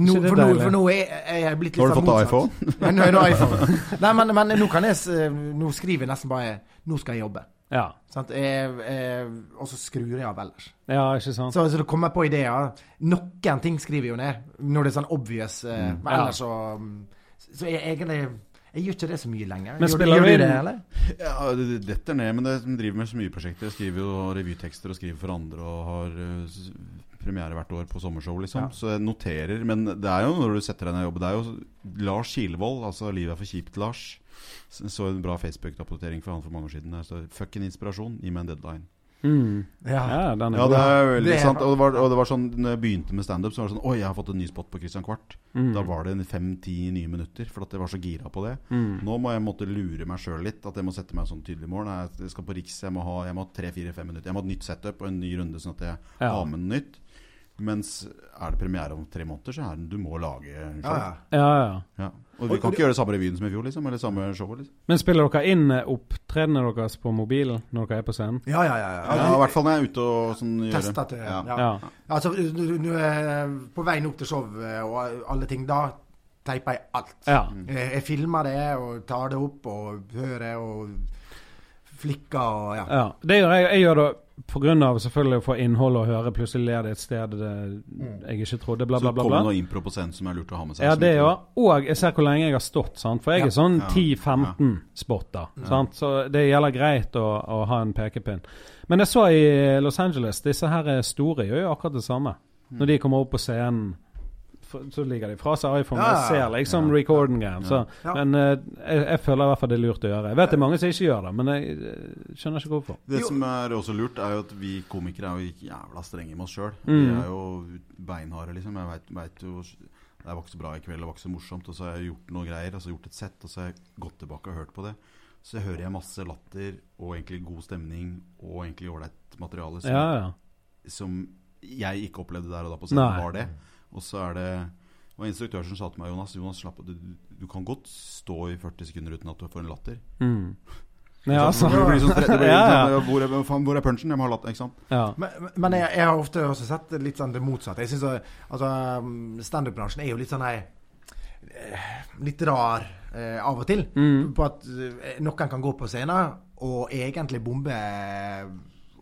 [SPEAKER 3] Nå,
[SPEAKER 1] Så det er
[SPEAKER 3] for, nå,
[SPEAKER 1] deilig.
[SPEAKER 3] for nå er er jeg blitt
[SPEAKER 2] Nå
[SPEAKER 3] litt
[SPEAKER 2] har du
[SPEAKER 3] sånn
[SPEAKER 2] fått
[SPEAKER 3] motsatt.
[SPEAKER 2] iPhone.
[SPEAKER 3] Men nå er det iPhone. Nei, men, men nå kan jeg s- eh, Nå skriver jeg nesten bare 'Nå skal jeg jobbe'.
[SPEAKER 1] Ja,
[SPEAKER 3] Sant? Jeg, jeg, og så skrur jeg av ellers.
[SPEAKER 1] ja ikke sant?
[SPEAKER 3] Så, så det kommer på ideer. Noen ting skriver jeg jo ned, når det er sånn obvious. eh, Men
[SPEAKER 1] Ja.
[SPEAKER 3] ellers så mm, Så jeg egentlig Jeg gjør ikke det så mye lenger.
[SPEAKER 1] Men
[SPEAKER 3] Gjør-
[SPEAKER 1] spiller
[SPEAKER 3] gjør
[SPEAKER 1] du
[SPEAKER 3] det,
[SPEAKER 1] inn-
[SPEAKER 3] eller?
[SPEAKER 2] Ja, det det detter ned, men det som driver med så mye prosjekter. Jeg skriver jo revytekster og skriver for andre og har eh, s- premiere hvert år på sommershow, liksom.
[SPEAKER 3] Ja.
[SPEAKER 2] Så jeg noterer. Men det er jo når du setter deg ned og jobber, det er jo Lars Kilevold, altså 'Livet er for kjipt', Lars. S- Så en bra Facebook-oppdatering for han for mange år siden. Der står 'fucking inspirasjon', gi meg en deadline.
[SPEAKER 1] Mm.
[SPEAKER 3] Ja.
[SPEAKER 1] Ja, den er
[SPEAKER 2] Ja,
[SPEAKER 1] god.
[SPEAKER 2] det er veldig
[SPEAKER 3] Det er-
[SPEAKER 2] sant. Og det, var, og det var sånn Når jeg begynte med standup, så var det sånn Oi, jeg har fått en ny spot på Christian Kvart.
[SPEAKER 1] Mm.
[SPEAKER 2] Da var det en fem-ti nye minutter, for at jeg var så gira på det.
[SPEAKER 1] Mm.
[SPEAKER 2] Nå må jeg måtte lure meg sjøl litt, at jeg må sette meg sånn tydelig mål. Nei, Jeg skal på Riks, jeg må ha jeg må ha tre-fire-fem minutter. Jeg må ha et nytt setup og en ny runde, sånn at jeg
[SPEAKER 1] Ja.
[SPEAKER 2] har med noe nytt. Mens er det premiere om tre måneder, så er det du må lage show.
[SPEAKER 3] Ja,
[SPEAKER 2] Ja,
[SPEAKER 3] ja.
[SPEAKER 1] Ja, ja.
[SPEAKER 2] Og vi kan ikke gjøre det samme revyen som i fjor, liksom. Eller samme showet, liksom.
[SPEAKER 1] Men spiller dere inn eh, opptredenene deres på mobilen når dere er på scenen?
[SPEAKER 3] Ja, ja, ja. ja.
[SPEAKER 2] Ja, I hvert fall når jeg er ute og sånn gjør
[SPEAKER 3] Testa til
[SPEAKER 2] Ja.
[SPEAKER 3] ja.
[SPEAKER 1] Ja.
[SPEAKER 3] Altså, nå- nå- nå er- eh, på veien opp til show eh, og alle ting, da teiper jeg alt.
[SPEAKER 1] ja.
[SPEAKER 3] Jeg, jeg filmer det og tar det opp og hører og flikker og ja.
[SPEAKER 1] Ja, det gjør jeg. Jeg gjør det pga. selvfølgelig å få innhold og høre. Plutselig er det et sted det,
[SPEAKER 3] Mm.
[SPEAKER 1] jeg ikke trodde, bla, bla,
[SPEAKER 2] Så
[SPEAKER 1] bla.
[SPEAKER 2] kommer det
[SPEAKER 1] bla.
[SPEAKER 2] noe impro på scenen som er lurt å ha med seg.
[SPEAKER 1] Ja,
[SPEAKER 2] som
[SPEAKER 1] det
[SPEAKER 2] ikke-
[SPEAKER 1] òg. Og jeg ser hvor lenge jeg har stått, sant. For jeg er sånn
[SPEAKER 2] Ja.
[SPEAKER 1] 10-15 spotter. Sant? Så det gjelder greit å, å ha en pekepinn. Men jeg så i Los Angeles, disse her er store gjør jo akkurat det samme.
[SPEAKER 3] Mm.
[SPEAKER 1] Når de kommer opp på scenen, f- så ligger de fra seg iPhone.
[SPEAKER 3] Ja.
[SPEAKER 1] Jeg ser liksom
[SPEAKER 2] Ja.
[SPEAKER 1] recorden-greien. så-
[SPEAKER 3] Ja.
[SPEAKER 1] Men eh, jeg, jeg føler i hvert fall det er lurt å gjøre. Jeg vet det er mange som ikke gjør det, men jeg eh, skjønner ikke hvorfor.
[SPEAKER 2] Det
[SPEAKER 3] Jo.
[SPEAKER 2] som er også lurt, er jo at vi komikere er jo jævla strenge med oss sjøl. Vi
[SPEAKER 1] Mm.
[SPEAKER 2] er jo beinharde, liksom. Jeg vet- vet jo Det var ikke så bra i kveld, det var ikke så morsomt. Og så har jeg gjort noe greier, og så gjort et sett, og så har jeg gått tilbake og hørt på det. Så hører jeg masse latter og egentlig god stemning og egentlig ålreit
[SPEAKER 3] Altså.
[SPEAKER 2] materiale som,
[SPEAKER 1] Ja, ja.
[SPEAKER 2] som jeg ikke opplevde der og da på scenen,
[SPEAKER 1] Nei.
[SPEAKER 2] var det. Og så er det det var en instruktør som sa til meg Jonas, Jonas slapp av, du, du kan godt stå i 40 sekunder uten at du får en latter.
[SPEAKER 1] Mm. Ja, altså.
[SPEAKER 2] Det blir sånn, det blir
[SPEAKER 1] Ja, ja.
[SPEAKER 2] sånn hvor, er, faen, hvor er punchen? Jeg må ha latter. Ikke sant?
[SPEAKER 1] Ja.
[SPEAKER 3] Men, men jeg, jeg har ofte også sett litt sånn det motsatte. Jeg synes at- altså, um, Standup-bransjen er jo litt sånn ei eh, Litt rar eh, av og til.
[SPEAKER 1] Mm.
[SPEAKER 3] På at eh, noen kan gå på scenen og egentlig bombe eh,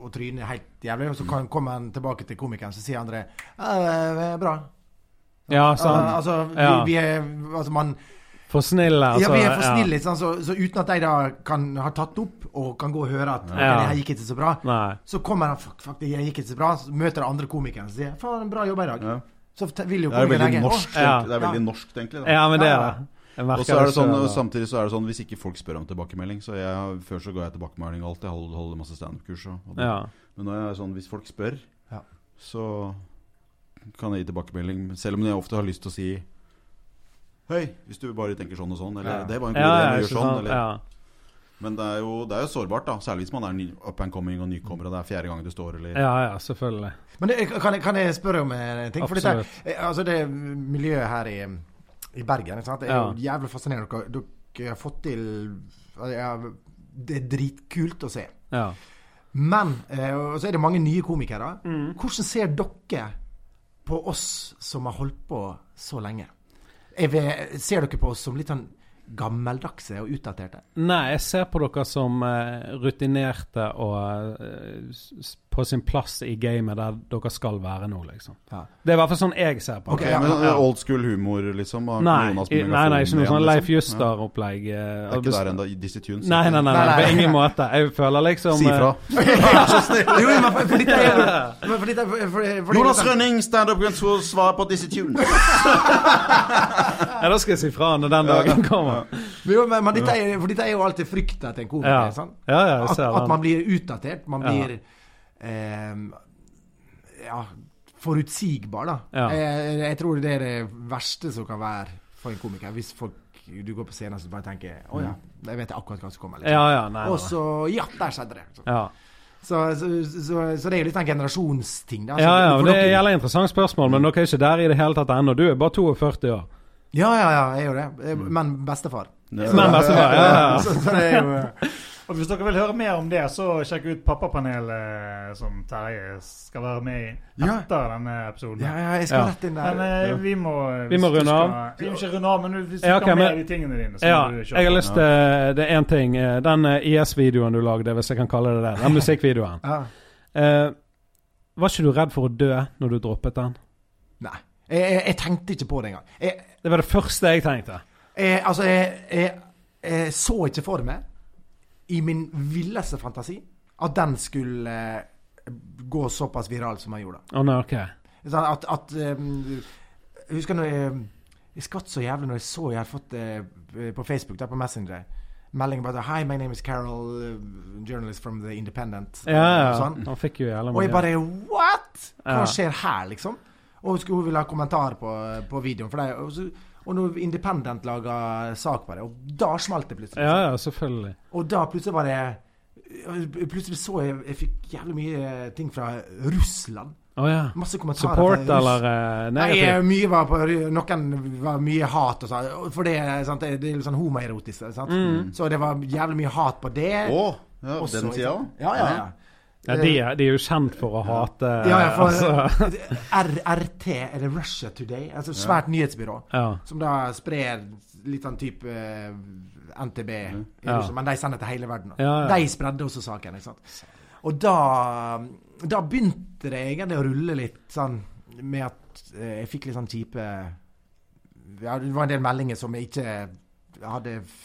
[SPEAKER 3] og tryne helt jævlig. Og så kan, kommer han tilbake til komikeren, så sier andre ja, det er bra.
[SPEAKER 1] Ja, sant.
[SPEAKER 3] Al- Altså, vi,
[SPEAKER 1] Ja.
[SPEAKER 3] vi er Altså, man
[SPEAKER 1] For snille, altså.
[SPEAKER 3] Ja, vi er for snille, ikke sant? Så, så uten at de da kan ha tatt opp og kan gå og høre at «Ok,
[SPEAKER 1] Ja.
[SPEAKER 3] det her gikk ikke så bra,
[SPEAKER 1] Nei.
[SPEAKER 3] så kommer han fuck, fuck, det gikk ikke så bra. Så møter han andre komikeren og sier faen, bra jobba i dag.
[SPEAKER 2] Ja.
[SPEAKER 3] Så te- vil jo
[SPEAKER 2] Det er
[SPEAKER 3] komikeren
[SPEAKER 2] veldig
[SPEAKER 3] legge
[SPEAKER 2] norsk,
[SPEAKER 1] Ja.
[SPEAKER 2] egentlig. Det er veldig norsk, egentlig. Da.
[SPEAKER 1] Ja, men det er
[SPEAKER 3] Ja.
[SPEAKER 1] det. Jeg
[SPEAKER 2] Og
[SPEAKER 1] merker
[SPEAKER 2] så er det sånn,
[SPEAKER 1] selv,
[SPEAKER 2] og
[SPEAKER 1] da.
[SPEAKER 2] samtidig så er det sånn hvis ikke folk spør om tilbakemelding Så jeg, Før så ga jeg tilbakemelding og alt. Jeg holder, holder masse standup-kurs. og- og det.
[SPEAKER 1] ja.
[SPEAKER 2] Men nå er det sånn hvis folk spør,
[SPEAKER 3] Ja.
[SPEAKER 2] så kan jeg gi tilbakemelding. Selv om jeg ofte har lyst til å si Hei, hvis du bare tenker sånn og sånn. Eller
[SPEAKER 3] Ja.
[SPEAKER 2] det var en god
[SPEAKER 1] Ja,
[SPEAKER 2] idé,
[SPEAKER 1] ja,
[SPEAKER 2] men
[SPEAKER 1] ikke
[SPEAKER 2] gjør sånn.
[SPEAKER 1] sant.
[SPEAKER 2] Eller,
[SPEAKER 1] Ja.
[SPEAKER 2] Men det er, jo, det er jo sårbart, da. Særlig hvis man er ny, up and coming og nykommer, og det er fjerde gang du står, eller
[SPEAKER 1] ja, ja, selvfølgelig.
[SPEAKER 3] Men det, kan, jeg, kan jeg spørre om en ting? For dette,
[SPEAKER 1] Absolutt.
[SPEAKER 3] eh, altså det miljøet her i, i Bergen ikke sant? Det er jo jævlig fascinerende. Dere, dere har fått til ja, Det er dritkult å se.
[SPEAKER 1] Ja.
[SPEAKER 3] Men eh, og så er det mange nye komikere. Hvordan ser dere på oss som har holdt på så lenge? Er vi, ser dere på oss som litt sånn gammeldagse og utdaterte?
[SPEAKER 1] Nei, jeg ser på dere som eh, rutinerte og eh, s- s- på sin plass i gamet der dere skal være nå, liksom.
[SPEAKER 3] Ja.
[SPEAKER 1] Det er i hvert fall sånn jeg ser på
[SPEAKER 3] Ok,
[SPEAKER 1] det.
[SPEAKER 2] Ok,
[SPEAKER 3] ja,
[SPEAKER 2] men
[SPEAKER 3] ja.
[SPEAKER 2] Old school humor, liksom? av
[SPEAKER 1] Nei,
[SPEAKER 2] Jonas
[SPEAKER 1] i- nei,
[SPEAKER 2] med
[SPEAKER 1] nei,
[SPEAKER 2] megafonen
[SPEAKER 1] ikke noe sånn
[SPEAKER 2] igjen,
[SPEAKER 1] Leif
[SPEAKER 2] liksom. Ja,
[SPEAKER 1] Juster-opplegg. eh,
[SPEAKER 2] Det er ikke der ennå, Dizzie Tunes.
[SPEAKER 1] Nei, nei, nei,
[SPEAKER 3] Nei,
[SPEAKER 1] nei,
[SPEAKER 3] nei,
[SPEAKER 1] på
[SPEAKER 3] nei.
[SPEAKER 1] ingen måte. Jeg føler liksom
[SPEAKER 2] Si
[SPEAKER 1] eh,
[SPEAKER 2] ifra.
[SPEAKER 3] Jo, men for, for litt, men for litt, for, for, for
[SPEAKER 2] Jonas Rønning, standup-kunstner, svar på Dizzie Tunes.
[SPEAKER 1] Ja, da skal jeg si fra når den dagen kommer.
[SPEAKER 3] Jo, men, men dette, er, for dette er jo alltid frykta til en komiker.
[SPEAKER 1] Ja,
[SPEAKER 3] sant?
[SPEAKER 1] ja, ja jeg
[SPEAKER 3] At,
[SPEAKER 1] ser
[SPEAKER 3] at man
[SPEAKER 1] den.
[SPEAKER 3] blir utdatert. Man
[SPEAKER 1] Ja.
[SPEAKER 3] blir ehm, ja, forutsigbar, da.
[SPEAKER 1] Ja.
[SPEAKER 3] Jeg, jeg tror det er det verste som kan være for en komiker. Hvis folk du går på scenen og så bare tenker Å ja, jeg vet akkurat hva som kommer. liksom.
[SPEAKER 1] Ja, ja, nei,
[SPEAKER 3] Og
[SPEAKER 1] nei.
[SPEAKER 3] så Ja, der skjedde det. Så,
[SPEAKER 1] Ja.
[SPEAKER 3] så, så, så, så det er jo litt en generasjonsting. Da. Så
[SPEAKER 1] Ja, ja,
[SPEAKER 3] for
[SPEAKER 1] og det
[SPEAKER 3] dere-
[SPEAKER 1] gjelder interessant spørsmål, men dere er ikke der i det hele tatt ennå. Du er bare 42 år.
[SPEAKER 3] ja, ja, ja, jeg gjør det.
[SPEAKER 1] Mm.
[SPEAKER 3] Eh, Men bestefar.
[SPEAKER 1] Men vær så snill. Ja, ja, ja.
[SPEAKER 3] Så, så det er jo eh,
[SPEAKER 4] Og Hvis dere vil høre mer om det, så sjekk ut Pappapanelet som Terje skal være med i
[SPEAKER 3] Ja.
[SPEAKER 4] etter denne episoden.
[SPEAKER 3] Ja, ja, jeg skal
[SPEAKER 1] Ja.
[SPEAKER 3] rett inn der.
[SPEAKER 4] Men eh, vi må
[SPEAKER 1] Vi må
[SPEAKER 4] hvis du
[SPEAKER 1] runde av.
[SPEAKER 4] skal- Vi må ikke runde av, men hvis du skal
[SPEAKER 1] Ja, ok,
[SPEAKER 4] ha med
[SPEAKER 1] men-
[SPEAKER 4] de tingene dine, så
[SPEAKER 1] Ja,
[SPEAKER 4] må du kjøre.
[SPEAKER 1] jeg har lyst til Det er én ting. eh, Den eh, IS-videoen du lagde, hvis jeg kan kalle det det. Den musikkvideoen.
[SPEAKER 3] ja.
[SPEAKER 1] Eh, var ikke du redd for å dø når du droppet den?
[SPEAKER 3] Nei. Jeg, jeg, jeg tenkte ikke på det engang. Jeg,
[SPEAKER 1] Det var det første jeg tenkte.
[SPEAKER 3] jeg, altså, jeg, jeg, jeg så ikke for meg i min villeste fantasi at den skulle eh, gå såpass viral som den gjorde.
[SPEAKER 1] Å nei, ok.
[SPEAKER 3] Sånn at, at ehm, Jeg husker når jeg, jeg skvatt så jævlig når jeg så jeg hadde fått eh, på Facebook, der på Messenger, melding bare Hi, my name is Carol, eh, journalist from The Independent.
[SPEAKER 1] Ja, ja. Mm.
[SPEAKER 3] Og sånn.
[SPEAKER 1] Han fikk jo jævla
[SPEAKER 3] Og jeg
[SPEAKER 1] mye.
[SPEAKER 3] bare What?! Hva
[SPEAKER 1] Ja.
[SPEAKER 3] skjer her, liksom? Og hun skulle hun ville ha kommentar på, på videoen. For det, og, så, og når Independent laga sak på det, og da smalt det plutselig.
[SPEAKER 1] Ja, ja, selvfølgelig.
[SPEAKER 3] Og da plutselig var det Plutselig så jeg Jeg fikk jævlig mye ting fra Russland.
[SPEAKER 1] Å ja.
[SPEAKER 3] Masse kommentarer.
[SPEAKER 1] Support
[SPEAKER 3] fra Russ-
[SPEAKER 1] eller eh,
[SPEAKER 3] Nei, eh,
[SPEAKER 1] negativ?
[SPEAKER 3] mye var på, noen var mye hat og sånn. For det, er sant, det er litt sånn homoerotisk. Sant?
[SPEAKER 1] Mm.
[SPEAKER 3] Så det var jævlig mye hat på det.
[SPEAKER 2] Å, ja,
[SPEAKER 3] Og så-
[SPEAKER 2] den tida òg?
[SPEAKER 3] Ja, ja, ja.
[SPEAKER 1] Ja, de, er- de er jo kjent for å hate
[SPEAKER 3] Ja, ja, for
[SPEAKER 1] altså.
[SPEAKER 3] RRT, er det Russia Today? Altså svært nyhetsbyrå.
[SPEAKER 1] ja.
[SPEAKER 3] Som da sprer litt sånn type eh, NTB, i
[SPEAKER 1] Ja.
[SPEAKER 3] Russland, men de sender til hele verden.
[SPEAKER 1] Ja, ja.
[SPEAKER 3] De spredde også saken. ikke sant? Og da, da begynte det egentlig å rulle litt sånn med at eh, jeg fikk litt sånn kjipe ja, Det var en del meldinger som jeg ikke hadde f-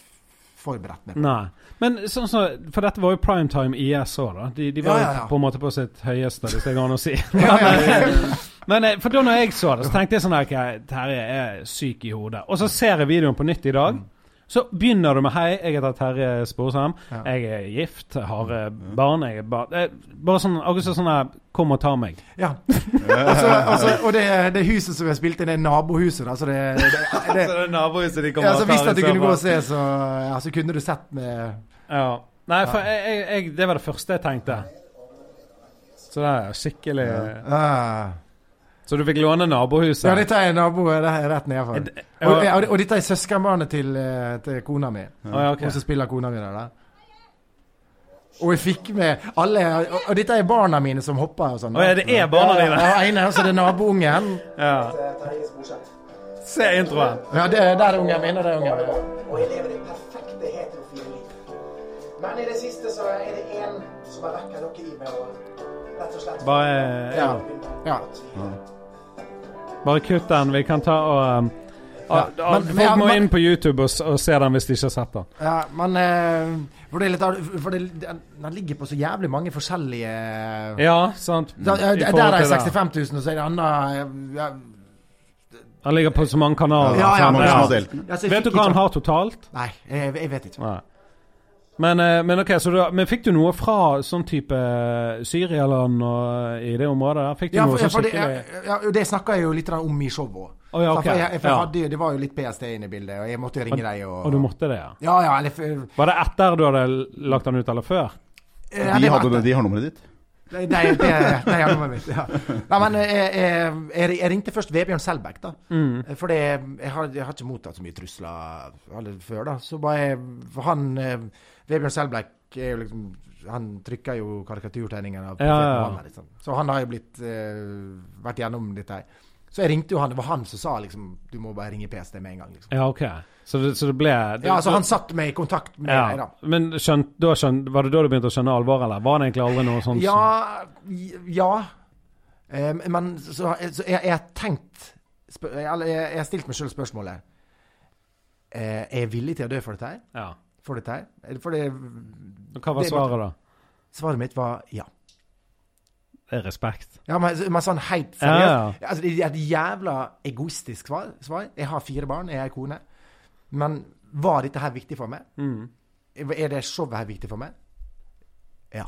[SPEAKER 3] forberedt meg på.
[SPEAKER 1] Nei. Men sånn som For dette var jo primetime IS òg, da. De, de var
[SPEAKER 3] Ja, ja, ja.
[SPEAKER 1] jo på en måte på sitt høyeste, hvis det går an å si.
[SPEAKER 3] Ja, ja, ja.
[SPEAKER 1] Men eh, for da når jeg så det, så tenkte jeg sånn her «Ok, Terje er syk i hodet. Og så ser jeg videoen på nytt i dag.
[SPEAKER 3] Mm.
[SPEAKER 1] Så begynner du med 'Hei, jeg heter Terje Sporsheim.
[SPEAKER 3] Ja.
[SPEAKER 1] Jeg er gift, jeg har eh, barn jeg er bar eh, Bare sånn akkurat som sånn her 'Kom og ta meg'.
[SPEAKER 3] Ja. Altså, altså, og det, det huset som jeg spilte i, det er nabohuset. Altså det, det, det,
[SPEAKER 1] det er nabohuset de
[SPEAKER 3] ja, altså, hvis at du kunne gå og se, så, ja, så kunne du sett med
[SPEAKER 1] Ja. Nei, for jeg, jeg, jeg, det var det første jeg tenkte. Så det er skikkelig
[SPEAKER 3] ah.
[SPEAKER 1] Så du fikk låne nabohuset?
[SPEAKER 3] Ja, dette er naboer re- rett nedenfor.
[SPEAKER 1] Er det-
[SPEAKER 3] Og, og, og dette er søskenbarnet til, eh, til kona mi.
[SPEAKER 1] Å, ja, ok.
[SPEAKER 3] Hun som spiller kona mi der. da. Og jeg fikk med alle Og, og dette er barna mine som hopper og sånn. da.
[SPEAKER 1] Å, ja, det er barna dine.
[SPEAKER 3] Ja, ja, ene, og så er det naboungen.
[SPEAKER 1] Ja. Se introen.
[SPEAKER 3] Ja, det, der er ungen min, og der er ungen min.
[SPEAKER 6] Og jeg lever det perfekte heterofile liv. Men i det siste så er det én som har vekket noe i meg. og rett og slett...
[SPEAKER 1] Bare, ja.
[SPEAKER 3] Ja.
[SPEAKER 1] Bare kutt den. Vi kan ta og um, og-
[SPEAKER 3] Ja,
[SPEAKER 1] og
[SPEAKER 3] men-
[SPEAKER 1] Folk
[SPEAKER 3] men- ja,
[SPEAKER 1] må
[SPEAKER 3] men-
[SPEAKER 1] inn på YouTube og, s- og se den hvis de ikke har sett den.
[SPEAKER 3] ja men eh, For det er litt av For det, den den ligger på så jævlig mange forskjellige
[SPEAKER 1] Ja, sant.
[SPEAKER 3] Da, ja,
[SPEAKER 1] I
[SPEAKER 3] der
[SPEAKER 1] forhold
[SPEAKER 3] er det
[SPEAKER 1] til
[SPEAKER 3] 65 000, og så er det annet ja,
[SPEAKER 1] Han ligger på så mange kanaler.
[SPEAKER 3] Ja, ja,
[SPEAKER 1] sant?
[SPEAKER 2] men-
[SPEAKER 1] Ja.
[SPEAKER 2] som har delt den.
[SPEAKER 3] Ja, så jeg
[SPEAKER 1] Vet du
[SPEAKER 3] fikk
[SPEAKER 1] hva han
[SPEAKER 3] ikke-
[SPEAKER 1] har totalt?
[SPEAKER 3] Nei, jeg, jeg vet ikke.
[SPEAKER 1] Nei. Men, eh, men ok, så du, men fikk du noe fra sånn type Syrialand og eh, i det området der? Fikk du
[SPEAKER 3] Ja,
[SPEAKER 1] noe
[SPEAKER 3] for, ja,
[SPEAKER 1] sånn
[SPEAKER 3] for det,
[SPEAKER 1] skikkelig
[SPEAKER 3] ja, ja, det snakka jeg jo litt om i showet òg.
[SPEAKER 1] Å, ja, ok.
[SPEAKER 3] For, jeg, for jeg
[SPEAKER 1] Ja.
[SPEAKER 3] hadde, jo- det var jo litt PST inne i bildet, og jeg måtte jo ringe deg og,
[SPEAKER 1] Og du måtte det, ja?
[SPEAKER 3] Ja, ja, eller eh, for-
[SPEAKER 1] Var det etter du hadde lagt den ut, eller før?
[SPEAKER 3] ja,
[SPEAKER 2] De,
[SPEAKER 3] det var
[SPEAKER 2] hadde,
[SPEAKER 3] etter.
[SPEAKER 2] de har nummeret ditt?
[SPEAKER 3] Nei, det, det er nummeret mitt. Ja. Nei, men jeg, jeg, jeg, jeg ringte først Vebjørn Selbekk, da. For det- Eh, jeg, har- jeg har ikke mottatt så mye trusler alle før, da. Så bare jeg, for han eh, Vebjørn Selbekk er jo liksom Han trykker jo karikaturtegninger av
[SPEAKER 1] Ja, ja, ja.
[SPEAKER 3] profeten Mohammed, liksom. Så han har jo blitt eh, vært gjennom dette her. Så jeg ringte jo han. Det var han som sa liksom Du må bare ringe PST med en gang. liksom.
[SPEAKER 1] Ja, OK. Så det, så det ble det,
[SPEAKER 3] Ja, altså han satte meg i kontakt med
[SPEAKER 1] ja.
[SPEAKER 3] meg, da.
[SPEAKER 1] Men skjønt, da skjønt, var det da du begynte å skjønne alvoret, eller? Var det egentlig aldri noe sånn sånt?
[SPEAKER 3] Ja, ja. Eh, men så, så jeg, jeg har tenkt spør- Eller jeg, jeg har stilt meg sjøl spørsmålet. Eh, er jeg villig til å dø for dette her?
[SPEAKER 1] ja.
[SPEAKER 3] For dette her? Eh, For det,
[SPEAKER 1] Hva var
[SPEAKER 3] Det-
[SPEAKER 1] svaret, da?
[SPEAKER 3] svaret mitt var ja.
[SPEAKER 1] Det er respekt.
[SPEAKER 3] Ja, men, men sånn helt
[SPEAKER 1] Ja,
[SPEAKER 3] seriøst.
[SPEAKER 1] ja.
[SPEAKER 3] Altså, det er et jævla egoistisk svar, svar. Jeg har fire barn, jeg er ei kone. Men var dette her viktig for meg?
[SPEAKER 1] Mm.
[SPEAKER 3] Er det showet her viktig for meg? Ja.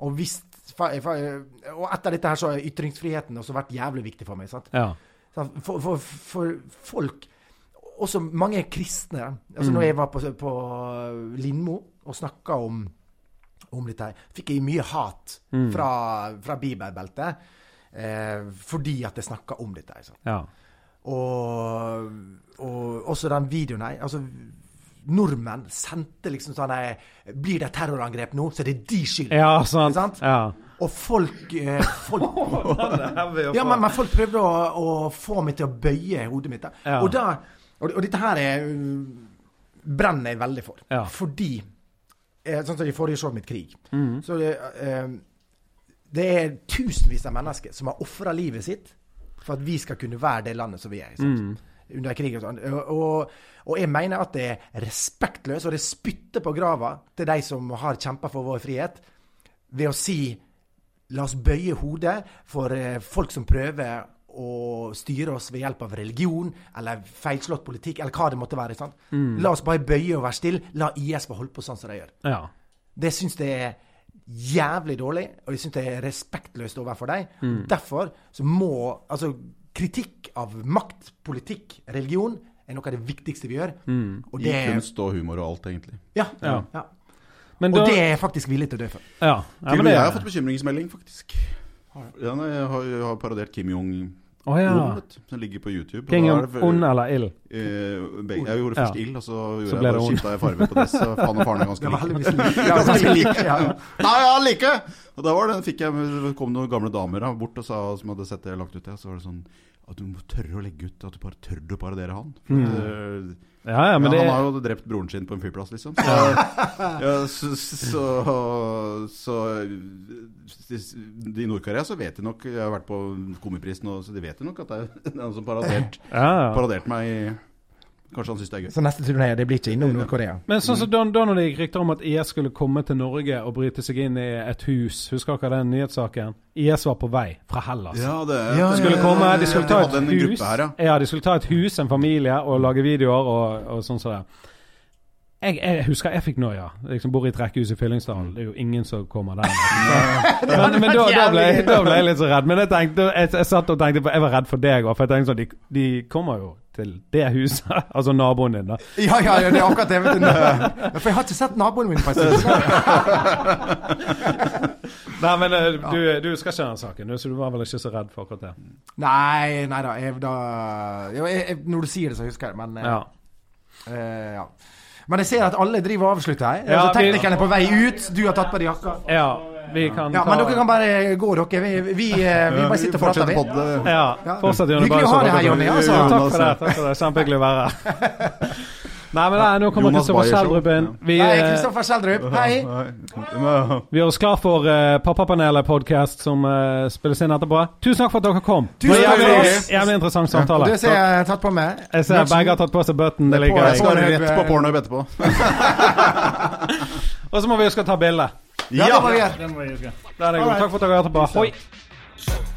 [SPEAKER 3] Og hvis fa- fa- Og etter dette her så har ytringsfriheten også vært jævlig viktig for meg. sant?
[SPEAKER 1] Ja.
[SPEAKER 3] Sant? Sånn, For, for, for folk Også mange kristne. Altså når jeg var på, på Lindmo og snakka om, om dette, her, fikk jeg mye hat fra, fra bibelbeltet eh, fordi at jeg snakka om dette. her, sant?
[SPEAKER 1] ja.
[SPEAKER 3] Og, og også den videoen her. Altså, nordmenn sendte liksom sånn her, Blir det terrorangrep nå, så er det de skyld.
[SPEAKER 1] Ja, sant.
[SPEAKER 3] Sant?
[SPEAKER 1] Ja.
[SPEAKER 3] Og folk, eh, folk Ja, men, men folk prøvde å, å få meg til å bøye hodet mitt. Da.
[SPEAKER 1] Ja.
[SPEAKER 3] Og, da, og, og dette her er, mm, brenner jeg veldig for.
[SPEAKER 1] Ja.
[SPEAKER 3] Fordi eh, Sånn som i forrige show mitt, Krig.
[SPEAKER 1] Mm.
[SPEAKER 3] Så det, eh, det er tusenvis av mennesker som har ofra livet sitt for at vi skal kunne være det landet som vi er. Sant?
[SPEAKER 1] Mm.
[SPEAKER 3] Under krig og sånn. Og, og, og jeg mener at det er respektløst, og det spytter på grava til de som har kjempa for vår frihet, ved å si La oss bøye hodet for eh, folk som prøver å styre oss ved hjelp av religion eller feilslått politikk, eller hva det måtte være. sant?
[SPEAKER 1] Mm.
[SPEAKER 3] La oss bare bøye og være stille. La IS få holde på sånn som de gjør.
[SPEAKER 1] ja.
[SPEAKER 3] Det syns jeg er jævlig dårlig, og jeg syns det er respektløst overfor dem.
[SPEAKER 1] Mm.
[SPEAKER 3] Derfor så må Altså, kritikk av makt, politikk, religion er noe av det viktigste vi gjør.
[SPEAKER 1] Mm.
[SPEAKER 3] Og
[SPEAKER 2] I
[SPEAKER 3] det
[SPEAKER 2] kunst og humor og alt, egentlig.
[SPEAKER 3] Ja. ja.
[SPEAKER 1] Ja. Men
[SPEAKER 3] Og
[SPEAKER 1] da,
[SPEAKER 3] det er jeg faktisk villig til å dø for.
[SPEAKER 1] ja. ja,
[SPEAKER 2] Til og
[SPEAKER 1] men
[SPEAKER 2] med
[SPEAKER 1] det
[SPEAKER 2] jeg har fått bekymringsmelding, faktisk. Ja, nei, jeg har, jeg har parodiert Kim Jong-un,
[SPEAKER 1] Å ja.
[SPEAKER 2] vet du, som ligger på YouTube.
[SPEAKER 1] King
[SPEAKER 2] Og da er
[SPEAKER 1] of
[SPEAKER 2] det-
[SPEAKER 1] ond eller ill.
[SPEAKER 2] Eh, begge- jeg gjorde først
[SPEAKER 1] Ja.
[SPEAKER 2] ild, og så,
[SPEAKER 1] Så
[SPEAKER 2] gjorde jeg
[SPEAKER 1] ble det
[SPEAKER 2] bare
[SPEAKER 1] ond.
[SPEAKER 2] skifta jeg farge på dress. Så faen og faren er ganske
[SPEAKER 3] Det var
[SPEAKER 2] like.
[SPEAKER 3] heldigvis lik. Ja, ganske lik. Ja, ja.
[SPEAKER 2] Nei, ja, like! Og da var det, fikk jeg, kom noen gamle damer da, bort og sa, som hadde sett det lagt ut. Ja, så var det sånn at du må tørre å legge ut At du bare tør å parodiere han. For, eh,
[SPEAKER 1] Mm. Ja, ja, men
[SPEAKER 2] ja,
[SPEAKER 1] det
[SPEAKER 2] han har jo drept broren sin på en flyplass, liksom. Så, ja, så, så, så, så I Nord-Korea så vet de nok Jeg har vært på Komiprisen, og så de vet jo nok at det er noen som parodert,
[SPEAKER 1] ja, ja.
[SPEAKER 2] paroderte meg. i- Kanskje han syns det er gøy.
[SPEAKER 3] Så neste turné det blir ikke innom Nord-Korea.
[SPEAKER 1] Men sånn som da,
[SPEAKER 2] Mm.
[SPEAKER 1] da når det gikk rykter om at IS skulle komme til Norge og bryte seg inn i et hus Husker dere den nyhetssaken? IS var på vei fra Hellas.
[SPEAKER 2] Ja, det
[SPEAKER 3] Ja,
[SPEAKER 1] De skulle komme, de skulle ta
[SPEAKER 2] Vi hadde
[SPEAKER 1] et
[SPEAKER 2] en
[SPEAKER 1] hus,
[SPEAKER 2] gruppe her, ja.
[SPEAKER 1] ja, de skulle ta et hus, en familie, og lage videoer og, og sånn som det. Jeg, jeg husker jeg fikk noia. Liksom bor i et rekkehus i Fyllingsdalen. Det er jo ingen som kommer der. men men da, da, ble, jeg- da ble jeg litt så redd. Men jeg, tenkte, jeg, jeg satt og tenkte på Jeg var redd for deg òg, for jeg tenkte sånn de, de kommer jo til det huset. altså naboen din, da.
[SPEAKER 3] Ja, ja, ja, det er akkurat det. Vet du. Ja, For jeg har ikke sett naboen min på en stund.
[SPEAKER 1] Nei, men eh, du, du skal kjenne saken, du, så du var vel ikke så redd for akkurat det.
[SPEAKER 3] Nei, nei da. Jeg, da jo, jeg, jeg, når du sier det, så husker jeg det. Men, eh,
[SPEAKER 1] Ja.
[SPEAKER 3] eh, ja. men jeg ser at alle driver og avslutter her.
[SPEAKER 1] Ja, vi-
[SPEAKER 3] altså, teknikeren er på vei ut. Du har tatt på deg jakka.
[SPEAKER 1] ja vi kan
[SPEAKER 3] Ja,
[SPEAKER 1] ta
[SPEAKER 3] men dere kan bare gå, dere. Vi, vi, eh, vi bare sitter og prater, vi.
[SPEAKER 2] podde.
[SPEAKER 1] Ja,
[SPEAKER 3] Ja.
[SPEAKER 1] fortsett, Jonny.
[SPEAKER 3] Hyggelig å ha deg her, Jonny. Altså.
[SPEAKER 1] Takk for det. takk for det Kjempehyggelig å være her. Nei, men nei, nå kommer
[SPEAKER 2] Jonas
[SPEAKER 1] Kristoffer
[SPEAKER 2] Bayer
[SPEAKER 1] Schjelderup inn. Vi,
[SPEAKER 3] Hei,
[SPEAKER 1] eh,
[SPEAKER 3] Kristoffer Schjelderup. Hei.
[SPEAKER 2] Nei.
[SPEAKER 1] vi gjør oss klar for eh, Pappapanelet-podkast som eh, spilles inn etterpå. Tusen takk for at dere kom.
[SPEAKER 3] Tusen
[SPEAKER 1] Det var
[SPEAKER 3] takk for
[SPEAKER 1] jævlig-
[SPEAKER 3] oss.
[SPEAKER 1] Jævlig interessant
[SPEAKER 3] Og
[SPEAKER 1] samtale.
[SPEAKER 3] det ser jeg har tatt på meg.
[SPEAKER 1] Jeg ser begge har tatt på seg button. Det liker
[SPEAKER 2] Jeg
[SPEAKER 1] jeg.
[SPEAKER 2] skal rett på pornohub etterpå.
[SPEAKER 1] Og så må vi huske å ta bilde.
[SPEAKER 3] Ja, det må vi gjøre.
[SPEAKER 4] Den må jeg huske.
[SPEAKER 1] Der er det god. Takk for at dere hørte på. Hoi.